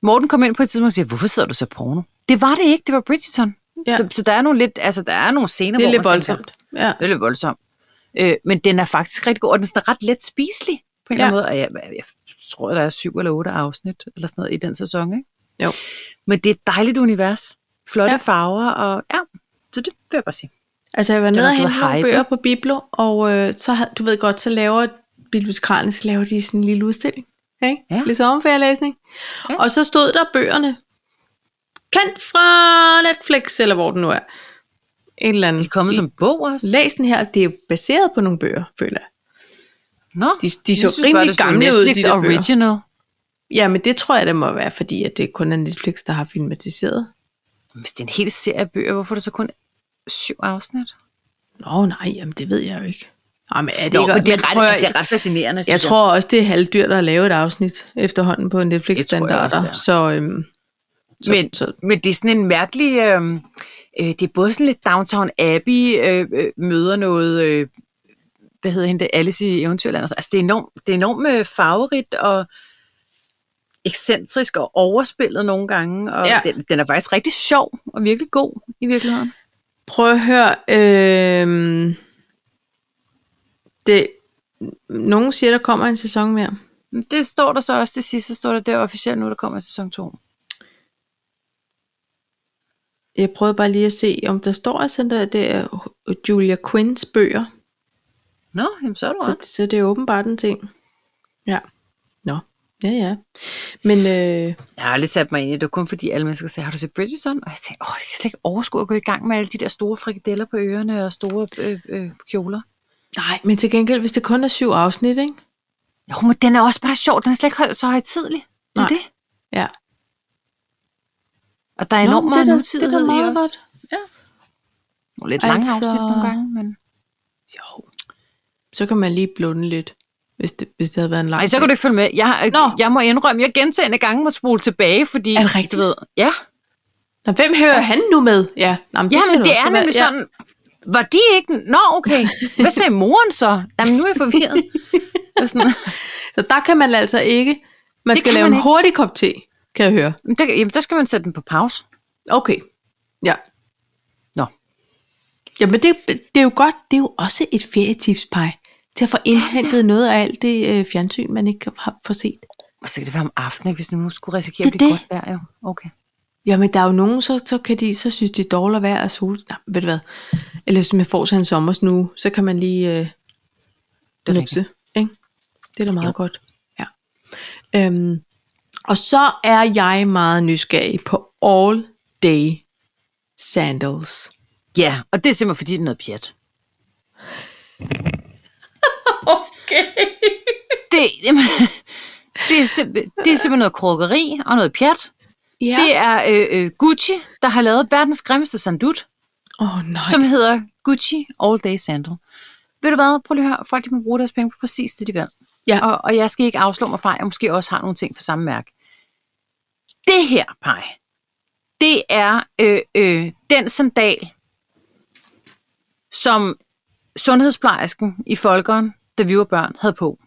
Speaker 2: Morten kom ind på et tidspunkt og siger, hvorfor sidder du så porno? Det var det ikke, det var Bridgerton.
Speaker 1: Ja.
Speaker 2: Ja. Så, så, der er nogle lidt, altså, der er nogle scener,
Speaker 1: Det er
Speaker 2: hvor
Speaker 1: lidt
Speaker 2: man
Speaker 1: voldsomt. Ja.
Speaker 2: Tænker, det er lidt voldsomt. Øh, men den er faktisk rigtig god, og den er sådan ret let spiselig på en
Speaker 1: Ja.
Speaker 2: ja. eller anden måde. Og jeg, jeg, tror, der er syv eller otte afsnit eller sådan noget i den sæson, ikke?
Speaker 1: Jo.
Speaker 2: Men det er et dejligt univers. Flotte
Speaker 1: Ja.
Speaker 2: ja. farver, og ja, så det vil jeg bare sige.
Speaker 1: Altså, jeg var
Speaker 2: er
Speaker 1: nede og
Speaker 2: blevet
Speaker 1: hente nogle
Speaker 2: hypet.
Speaker 1: bøger på Biblo, og øh, så, har- du ved godt, så laver bibliotekarerne, så laver de sådan en lille udstilling. Ikke?
Speaker 2: Ja.
Speaker 1: Lidt sommerferielæsning. Ja.
Speaker 2: Ja.
Speaker 1: Og så stod der bøgerne. Kendt fra Netflix, eller hvor den nu er. En eller
Speaker 2: De
Speaker 1: anden.
Speaker 2: er kommet som bog også.
Speaker 1: Læs den her, det er jo baseret på nogle bøger, føler jeg.
Speaker 2: Nå,
Speaker 1: De, de så
Speaker 2: jeg synes bare,
Speaker 1: rimelig
Speaker 2: det stod
Speaker 1: gamle ud, de
Speaker 2: Netflix
Speaker 1: der bøger.
Speaker 2: Original.
Speaker 1: Jamen, det tror jeg, det må være, fordi at det kun er Netflix, der har filmatiseret.
Speaker 2: Hvis det er en hel serie af bøger, hvorfor er der så kun syv afsnit?
Speaker 1: Nå nej, jamen det ved jeg jo ikke. Jamen, er det
Speaker 2: Nå,
Speaker 1: ikke,
Speaker 2: men det er, ret,
Speaker 1: prøv at-
Speaker 2: altså, det er ret fascinerende,
Speaker 1: jeg tror også, det er halvdyrt at lave et afsnit efterhånden på
Speaker 2: Det tror jeg også, det
Speaker 1: Netflix-standarder.
Speaker 2: er.
Speaker 1: Så, øhm, så,
Speaker 2: Men-
Speaker 1: så,
Speaker 2: Men det er sådan en mærkelig... Øh, øh, det er både sådan lidt Downtown Abbey øh, øh, møder noget... Øh, hvad hedder hende? det? Alice i Eventyrland. og sådan. Altså, det er enormt, det er enormt øh, farverigt og ekscentrisk og overspillet nogle gange. Og
Speaker 1: Ja.
Speaker 2: ja. den, den er faktisk rigtig sjov og virkelig god i virkeligheden.
Speaker 1: prøv at høre. Øhm, det, nogen siger, der kommer en sæson mere.
Speaker 2: Men Det står der så også til sidst, så står der der officielt nu, der kommer sæson 2.
Speaker 1: Jeg prøvede bare lige at se, om der står sådan der, det er Julia Quinns bøger.
Speaker 2: Nå, jamen så er du
Speaker 1: Så,
Speaker 2: ret.
Speaker 1: så det er åbenbart en ting. Ja. Nå. Ja, ja. Men øh,
Speaker 2: Jeg har aldrig sat mig ind i det. Det var kun fordi alle mennesker sagde, har du set Bridgerton? Og jeg tænkte, åh, jeg kan slet ikke overskue at gå i gang med alle de der store frikadeller på ørerne og store øh, øh, kjoler.
Speaker 1: nej, men til gengæld, hvis det kun er syv afsnit, ikke?
Speaker 2: Jo, men den er også bare sjov. Den er slet ikke høj- så højtidlig. Det er
Speaker 1: Nej.
Speaker 2: det.
Speaker 1: Ja.
Speaker 2: Og der er enormt
Speaker 1: men
Speaker 2: meget
Speaker 1: det er da-
Speaker 2: nutidighed
Speaker 1: det er da meget
Speaker 2: i os.
Speaker 1: godt.
Speaker 2: Ja. Nogle lidt lange
Speaker 1: Altså-
Speaker 2: altså... afsnit nogle gange, men...
Speaker 1: Jo. Så kan man lige blunde lidt, hvis det, hvis det havde været en lang
Speaker 2: Nej, så kan du ikke følge med. Jeg, øh,
Speaker 1: Nå.
Speaker 2: jeg må indrømme, jeg gentagende gange må spole tilbage, fordi...
Speaker 1: Er det rigtigt?
Speaker 2: Du ved, ja.
Speaker 1: Nå, hvem hører han nu med? Ja, Nå, men
Speaker 2: Ja,
Speaker 1: kan
Speaker 2: men det
Speaker 1: også
Speaker 2: er
Speaker 1: godt være.
Speaker 2: nemlig
Speaker 1: Ja.
Speaker 2: sådan, var de ikke... Nå, okay. Hvad sagde moren så? Jamen, nu er jeg forvirret. Det er sådan,
Speaker 1: Så der kan man altså ikke. Man
Speaker 2: Det
Speaker 1: skal
Speaker 2: kan
Speaker 1: lave
Speaker 2: man
Speaker 1: en
Speaker 2: ikke.
Speaker 1: hurtig kop te. kan jeg høre.
Speaker 2: Men der, jamen, der skal man sætte den på pause.
Speaker 1: Okay. Ja.
Speaker 2: Nå.
Speaker 1: Jamen, det, det er jo godt. Det er jo også et ferietips, Paj. Til at få indhentet noget af alt det øh, fjernsyn, man ikke har får set.
Speaker 2: Og så kan det være om aftenen, ikke, hvis nu skulle risikere
Speaker 1: Det
Speaker 2: at
Speaker 1: er
Speaker 2: blive
Speaker 1: det.
Speaker 2: godt vejr. Jo. Okay. Jamen,
Speaker 1: Jamen, der er jo nogen, så, så, kan de, så synes de er dårligt vejr og sol. Nej, ved du hvad? Eller hvis man får sig en sommersnue, så kan man lige øh,
Speaker 2: er
Speaker 1: nupse. Ikke? Det er da meget jo. godt. Ja. Øhm, og så er jeg meget nysgerrig på all day sandals.
Speaker 2: Ja, og det er simpelthen fordi, det er noget pjat. okay. Det, jamen, det, er simpel, det er simpelthen noget krukkeri og noget pjat.
Speaker 1: Ja.
Speaker 2: Ja. Det er øh, øh, Gucci, der har lavet verdens grimmeste sandut,
Speaker 1: Åh oh, nej.
Speaker 2: som hedder Gucci All Day Sandal. Ved du hvad? Prøv lige at høre. Folk de må bruge deres penge på præcis det, de vil.
Speaker 1: Ja.
Speaker 2: Og, og jeg skal ikke afslå mig fra, at jeg måske også har nogle ting fra samme mærke. Det her, pej, det er øh, øh, den sandal, som sundhedsplejersken i Folkeren, da vi var børn, havde på.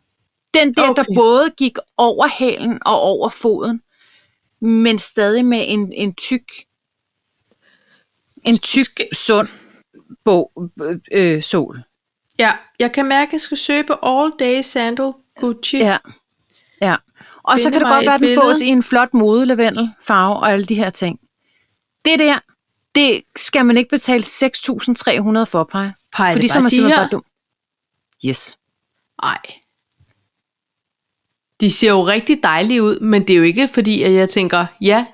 Speaker 2: Den der, okay.
Speaker 1: Okay.
Speaker 2: der både gik over hælen og over foden, men stadig med en, en tyk, en tyk,
Speaker 1: Skal-
Speaker 2: sund bog, øh, øh, sol.
Speaker 1: Ja, jeg kan mærke, at jeg skal søge på all day sandal Gucci.
Speaker 2: Ja. ja. Og så
Speaker 1: Finde
Speaker 2: kan det
Speaker 1: mig
Speaker 2: godt
Speaker 1: et
Speaker 2: være, at den
Speaker 1: billede.
Speaker 2: fås i en flot modelavendelfarve farve og alle de her ting. Det der, det skal man ikke betale 6.300 for, Paj.
Speaker 1: Pej,
Speaker 2: Fordi
Speaker 1: det
Speaker 2: så er
Speaker 1: bare
Speaker 2: man
Speaker 1: de
Speaker 2: simpelthen
Speaker 1: her?
Speaker 2: bare dum. Yes.
Speaker 1: Ej. De ser jo rigtig dejlige ud, men det er jo ikke fordi, at jeg tænker, ja,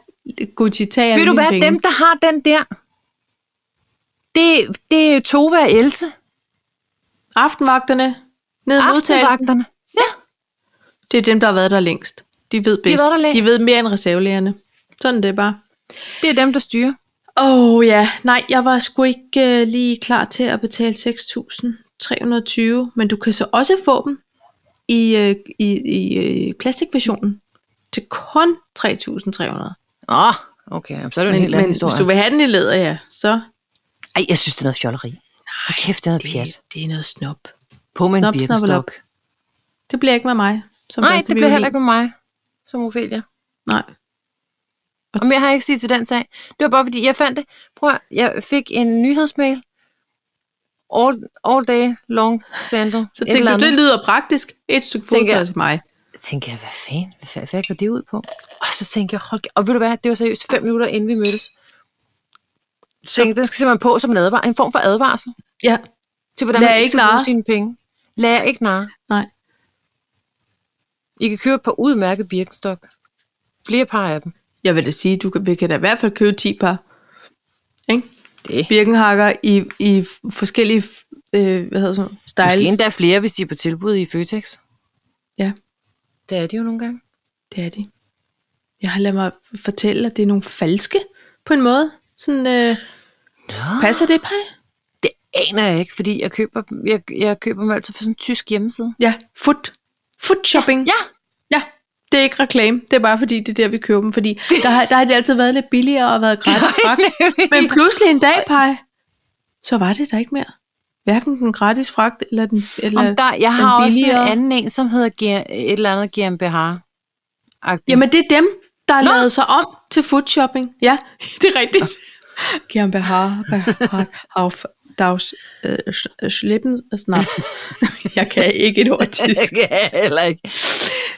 Speaker 1: Gucci tager alle
Speaker 2: Ved du
Speaker 1: mine
Speaker 2: hvad,
Speaker 1: penge.
Speaker 2: dem der har den der, det, det er Tove og Else,
Speaker 1: Aftenvagterne, ned i modtagelsen,
Speaker 2: aftenvagterne. Ja.
Speaker 1: det er dem, der har været der længst. De ved bedst.
Speaker 2: været der længst.
Speaker 1: de ved mere end reservelægerne. Sådan er det bare.
Speaker 2: Det er dem, der styrer.
Speaker 1: Åh oh, ja, nej, jeg var sgu ikke øh, lige klar til at betale 6.320, men du kan så også få dem i, øh, i, i øh, plastikversionen til kun 3.300.
Speaker 2: Åh, oh, okay. Jamen, Så er det jo en
Speaker 1: Men,
Speaker 2: helt anden
Speaker 1: men hvis
Speaker 2: historie.
Speaker 1: du vil have den i læder, ja, så
Speaker 2: Ej, jeg synes, det er noget fjolleri. Nej, kæft, det er noget pjat.
Speaker 1: det, det er noget snop.
Speaker 2: På med en
Speaker 1: Snop, snop,
Speaker 2: birkenstok.
Speaker 1: op. Det bliver ikke med mig. Som
Speaker 2: Nej,
Speaker 1: første
Speaker 2: det bliver
Speaker 1: violin.
Speaker 2: heller ikke med mig, som Ophelia.
Speaker 1: Nej.
Speaker 2: Og mere har jeg ikke sige til den sag. Det var bare fordi, jeg fandt det. Prøv at, jeg fik en nyhedsmail. All, all day long sandal.
Speaker 1: Så tænkte du, det lyder praktisk. Et stykke
Speaker 2: Tænker
Speaker 1: fodtøj
Speaker 2: jeg.
Speaker 1: til mig.
Speaker 2: Så tænkte jeg, hvad fanden? Hvad, fa- hvad går det ud på? Og så tænkte jeg, hold kæ- Og ved du hvad, det var seriøst fem minutter, inden vi mødtes. Så tænkte, jeg, den skal simpelthen på som en, advar- en form for advarsel.
Speaker 1: Ja.
Speaker 2: Til hvordan
Speaker 1: Lad
Speaker 2: man
Speaker 1: jer
Speaker 2: ikke
Speaker 1: ikke
Speaker 2: skal bruge
Speaker 1: narre.
Speaker 2: sine penge. Lad jer ikke narre.
Speaker 1: Nej.
Speaker 2: I kan købe et par udmærket birkenstok. Flere par af dem.
Speaker 1: Jeg vil da sige, du kan, vi kan da i hvert fald købe 10 par. Ikke?
Speaker 2: Det.
Speaker 1: Birkenhakker i, i f- forskellige f- øh, hvad hedder sådan, noget? styles.
Speaker 2: Måske endda flere, hvis de er på tilbud i Føtex.
Speaker 1: Ja,
Speaker 2: Det er de jo nogle gange.
Speaker 1: det er de. Jeg har ladet mig fortælle, at det er nogle falske på en måde. Sådan, øh,
Speaker 2: Nå.
Speaker 1: passer det, Paj?
Speaker 2: Det aner jeg ikke, fordi jeg køber, dem- jeg, jeg køber dem altid fra sådan en tysk hjemmeside.
Speaker 1: Ja, foot. Foot shopping.
Speaker 2: Ja,
Speaker 1: Ja, det er ikke reklame. Det er bare fordi, det er der, vi køber dem. Fordi der har, der har det altid været lidt billigere og været gratis fragt. Men pludselig en dag, Paj, så var det der ikke mere. Hverken den gratis fragt eller den... Eller
Speaker 2: Om der, jeg
Speaker 1: den
Speaker 2: har også
Speaker 1: billigere.
Speaker 2: en anden en, som hedder G- et eller andet GmbH.
Speaker 1: Jamen, det er dem, der har lavet sig om til food shopping. Ja, det er rigtigt. GmbH, auf daus, slippen, snart. Jeg kan ikke et ord tysk.
Speaker 2: heller ikke.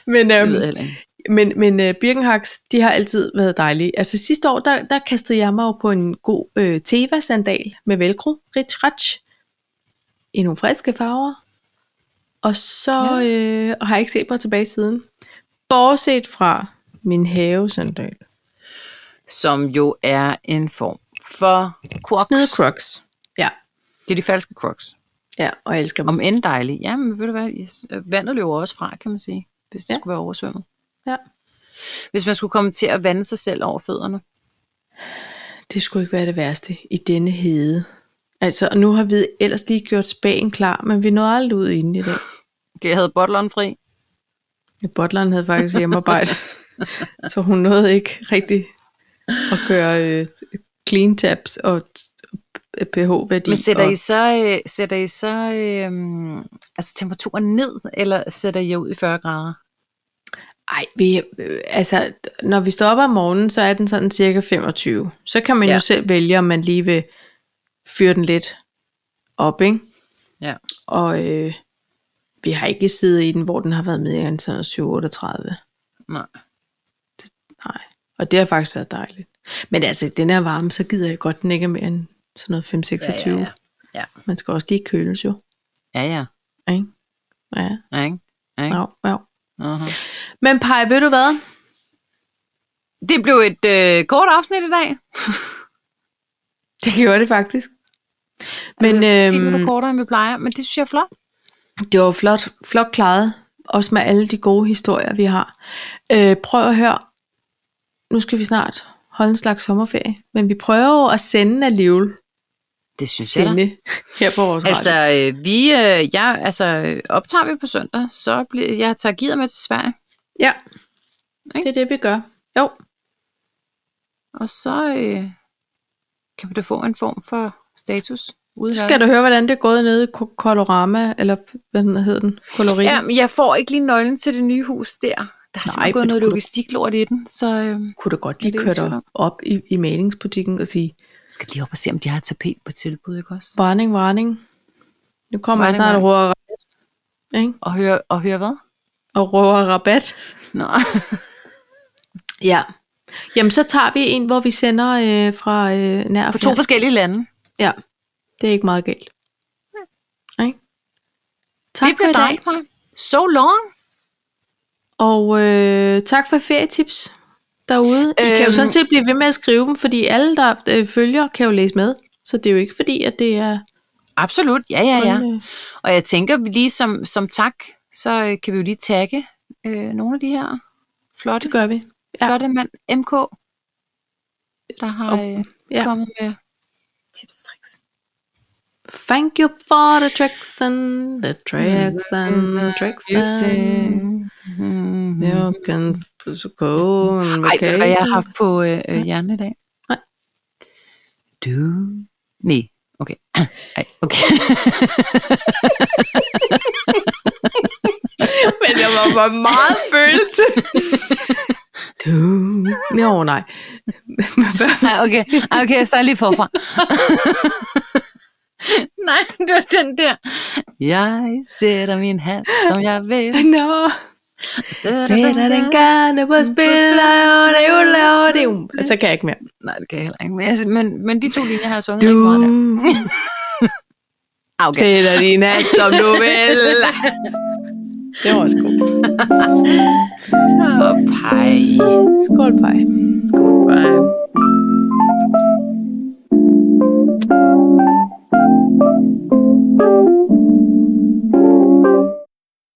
Speaker 1: Men,
Speaker 2: Jeg
Speaker 1: øhm,
Speaker 2: ved heller ikke.
Speaker 1: Men, men uh, Birkenhaks, de har altid været dejlige. Altså sidste år, der, der kastede jeg mig jo på en god øh, Teva-sandal med velcro, rich ratch, i nogle friske farver. Og så ja. øh, og har jeg ikke set mig tilbage siden. Bortset fra min havesandal.
Speaker 2: Som jo er en form for
Speaker 1: Snede
Speaker 2: crocs.
Speaker 1: crocs. Ja,
Speaker 2: Det er de falske crocs.
Speaker 1: ja, og jeg elsker dem.
Speaker 2: Om end dejlige. Ja, men ved du hvad, yes, vandet løber også fra, kan man sige, hvis det
Speaker 1: Ja.
Speaker 2: skulle være oversvømmet.
Speaker 1: Ja.
Speaker 2: Hvis man skulle komme til at vande sig selv over fødderne.
Speaker 1: Det skulle ikke være det værste i denne hede. Altså, og nu har vi ellers lige gjort spagen klar, men vi nåede aldrig ud inden i dag.
Speaker 2: Okay, jeg havde bottleren fri.
Speaker 1: Ja, Butleren havde faktisk hjemmearbejde, så hun nåede ikke rigtig at gøre øh, clean tabs og pH-værdi.
Speaker 2: Men sætter
Speaker 1: og,
Speaker 2: I så, øh, sætter I så øh, altså temperaturen ned, eller sætter I jer ud i 40 grader?
Speaker 1: Ej, vi, øh, altså, når vi står op om morgenen, så er den sådan cirka 25. Så kan man ja.
Speaker 2: Ja.
Speaker 1: jo selv vælge, om man lige vil fyre den lidt op, ikke?
Speaker 2: Ja.
Speaker 1: Og øh, vi har ikke siddet i den, hvor den har været mere end sådan 738.
Speaker 2: Nej.
Speaker 1: Nej, og det har faktisk været dejligt. Men altså, i den her varme, så gider jeg godt, den ikke er mere end sådan noget 5-26.
Speaker 2: Ja, ja, ja. Ja.
Speaker 1: Man skal også lige køles jo,
Speaker 2: Ja, ja.
Speaker 1: ikke? Ja,
Speaker 2: Ja, Ikke?
Speaker 1: ja, ja.
Speaker 2: Uh-huh.
Speaker 1: Men Paj, ved du hvad?
Speaker 2: Det blev et øh, kort afsnit i dag.
Speaker 1: Det gjorde det faktisk. Men
Speaker 2: Øhm, 10
Speaker 1: altså,
Speaker 2: minutter
Speaker 1: øhm,
Speaker 2: kortere, end vi plejer, men det synes jeg er flot.
Speaker 1: det var flot, flot klaret, også med alle de gode historier, vi har. Øh, prøv at høre, nu skal vi snart holde en slags sommerferie, men vi prøver jo at sende alligevel
Speaker 2: Det synes
Speaker 1: sende her på vores
Speaker 2: Altså,
Speaker 1: radio.
Speaker 2: øh, vi, øh, jeg, altså, øh, optager vi på søndag, så bliver, jeg tager gearet med til Sverige,
Speaker 1: Ja,
Speaker 2: Ikke?
Speaker 1: det er det, vi gør. Jo,
Speaker 2: og så øh, kan vi da få en form for status ude
Speaker 1: Så
Speaker 2: i
Speaker 1: skal
Speaker 2: verden.
Speaker 1: du høre, hvordan det er gået nede i Ko- Colorama, eller hvad den hedder den? Colorin.
Speaker 2: Ja, men jeg får ikke lige nøglen til det nye hus der. Der er
Speaker 1: men
Speaker 2: simpelthen gået
Speaker 1: det
Speaker 2: noget
Speaker 1: kunne du-
Speaker 2: logistiklort i den, så øh,
Speaker 1: Kunne du godt
Speaker 2: lige
Speaker 1: lige
Speaker 2: køre
Speaker 1: køre
Speaker 2: dig
Speaker 1: dig op i, i malingsbutikken og sige,
Speaker 2: skal lige op og se, om de har tapet på tilbud, ikke også?
Speaker 1: varning, varning. Nu kommer jeg
Speaker 2: Varning,
Speaker 1: snart og
Speaker 2: varning."
Speaker 1: rører rabat. Ikke?
Speaker 2: Og høre, og høre hvad?
Speaker 1: Og rører rabat.
Speaker 2: Nå.
Speaker 1: Ja. Jamen, så tager vi en, hvor vi sender øh, fra øh, nær og
Speaker 2: På to
Speaker 1: fjern.
Speaker 2: forskellige lande.
Speaker 1: Ja, det er ikke meget galt. Ikke? Tak
Speaker 2: det
Speaker 1: for i
Speaker 2: bliver
Speaker 1: dag,
Speaker 2: dejligt, Paj. So long.
Speaker 1: og øh, tak for ferietips derude. I kan jo
Speaker 2: Øhm.
Speaker 1: sådan set blive ved med at skrive dem, fordi alle, der øh, følger, kan jo læse med. Så det er jo ikke fordi, at det er...
Speaker 2: Absolut, ja, ja, ja.
Speaker 1: kun, øh,
Speaker 2: Og jeg tænker vi lige som, som tak, så øh, kan vi jo lige tagge øh, nogle af de her flotte,
Speaker 1: Det gør vi.
Speaker 2: ja.
Speaker 1: ja.
Speaker 2: flotte mand, MK, der har
Speaker 1: Og-
Speaker 2: øh,
Speaker 1: ja.
Speaker 2: ja. kommet med tips og tricks.
Speaker 1: Thank you for the tricks and the tricks
Speaker 2: Øhm,
Speaker 1: and the
Speaker 2: Mm,
Speaker 1: tricks
Speaker 2: øh,
Speaker 1: and...
Speaker 2: Mm-hmm.
Speaker 1: You can go on
Speaker 2: Ej, det er, hvad jeg har
Speaker 1: vacation.
Speaker 2: haft på øh, øh, hjernen i dag.
Speaker 1: Nej.
Speaker 2: Du. Nej, okay. Ej, okay.
Speaker 1: Men jeg var bare meget følelse. du. Jo, nej.
Speaker 2: Ej, okay. Ej, okay, jeg starter lige forfra. Nej, det var den der. Jeg sætter min hand, som jeg vil.
Speaker 1: Nå, sætter den gerne på spil, og det er jo lavet, det er jo- Så kan jeg ikke mere.
Speaker 2: Nej, det kan jeg heller ikke. Men, jeg, men, men de to linjer har jeg sunget
Speaker 1: Du
Speaker 2: rigtig meget der. Ah, okay.
Speaker 1: sætter din hat, som du vil. Det var også godt.
Speaker 2: Pej.
Speaker 1: Skål, bye.
Speaker 2: Skål, pej.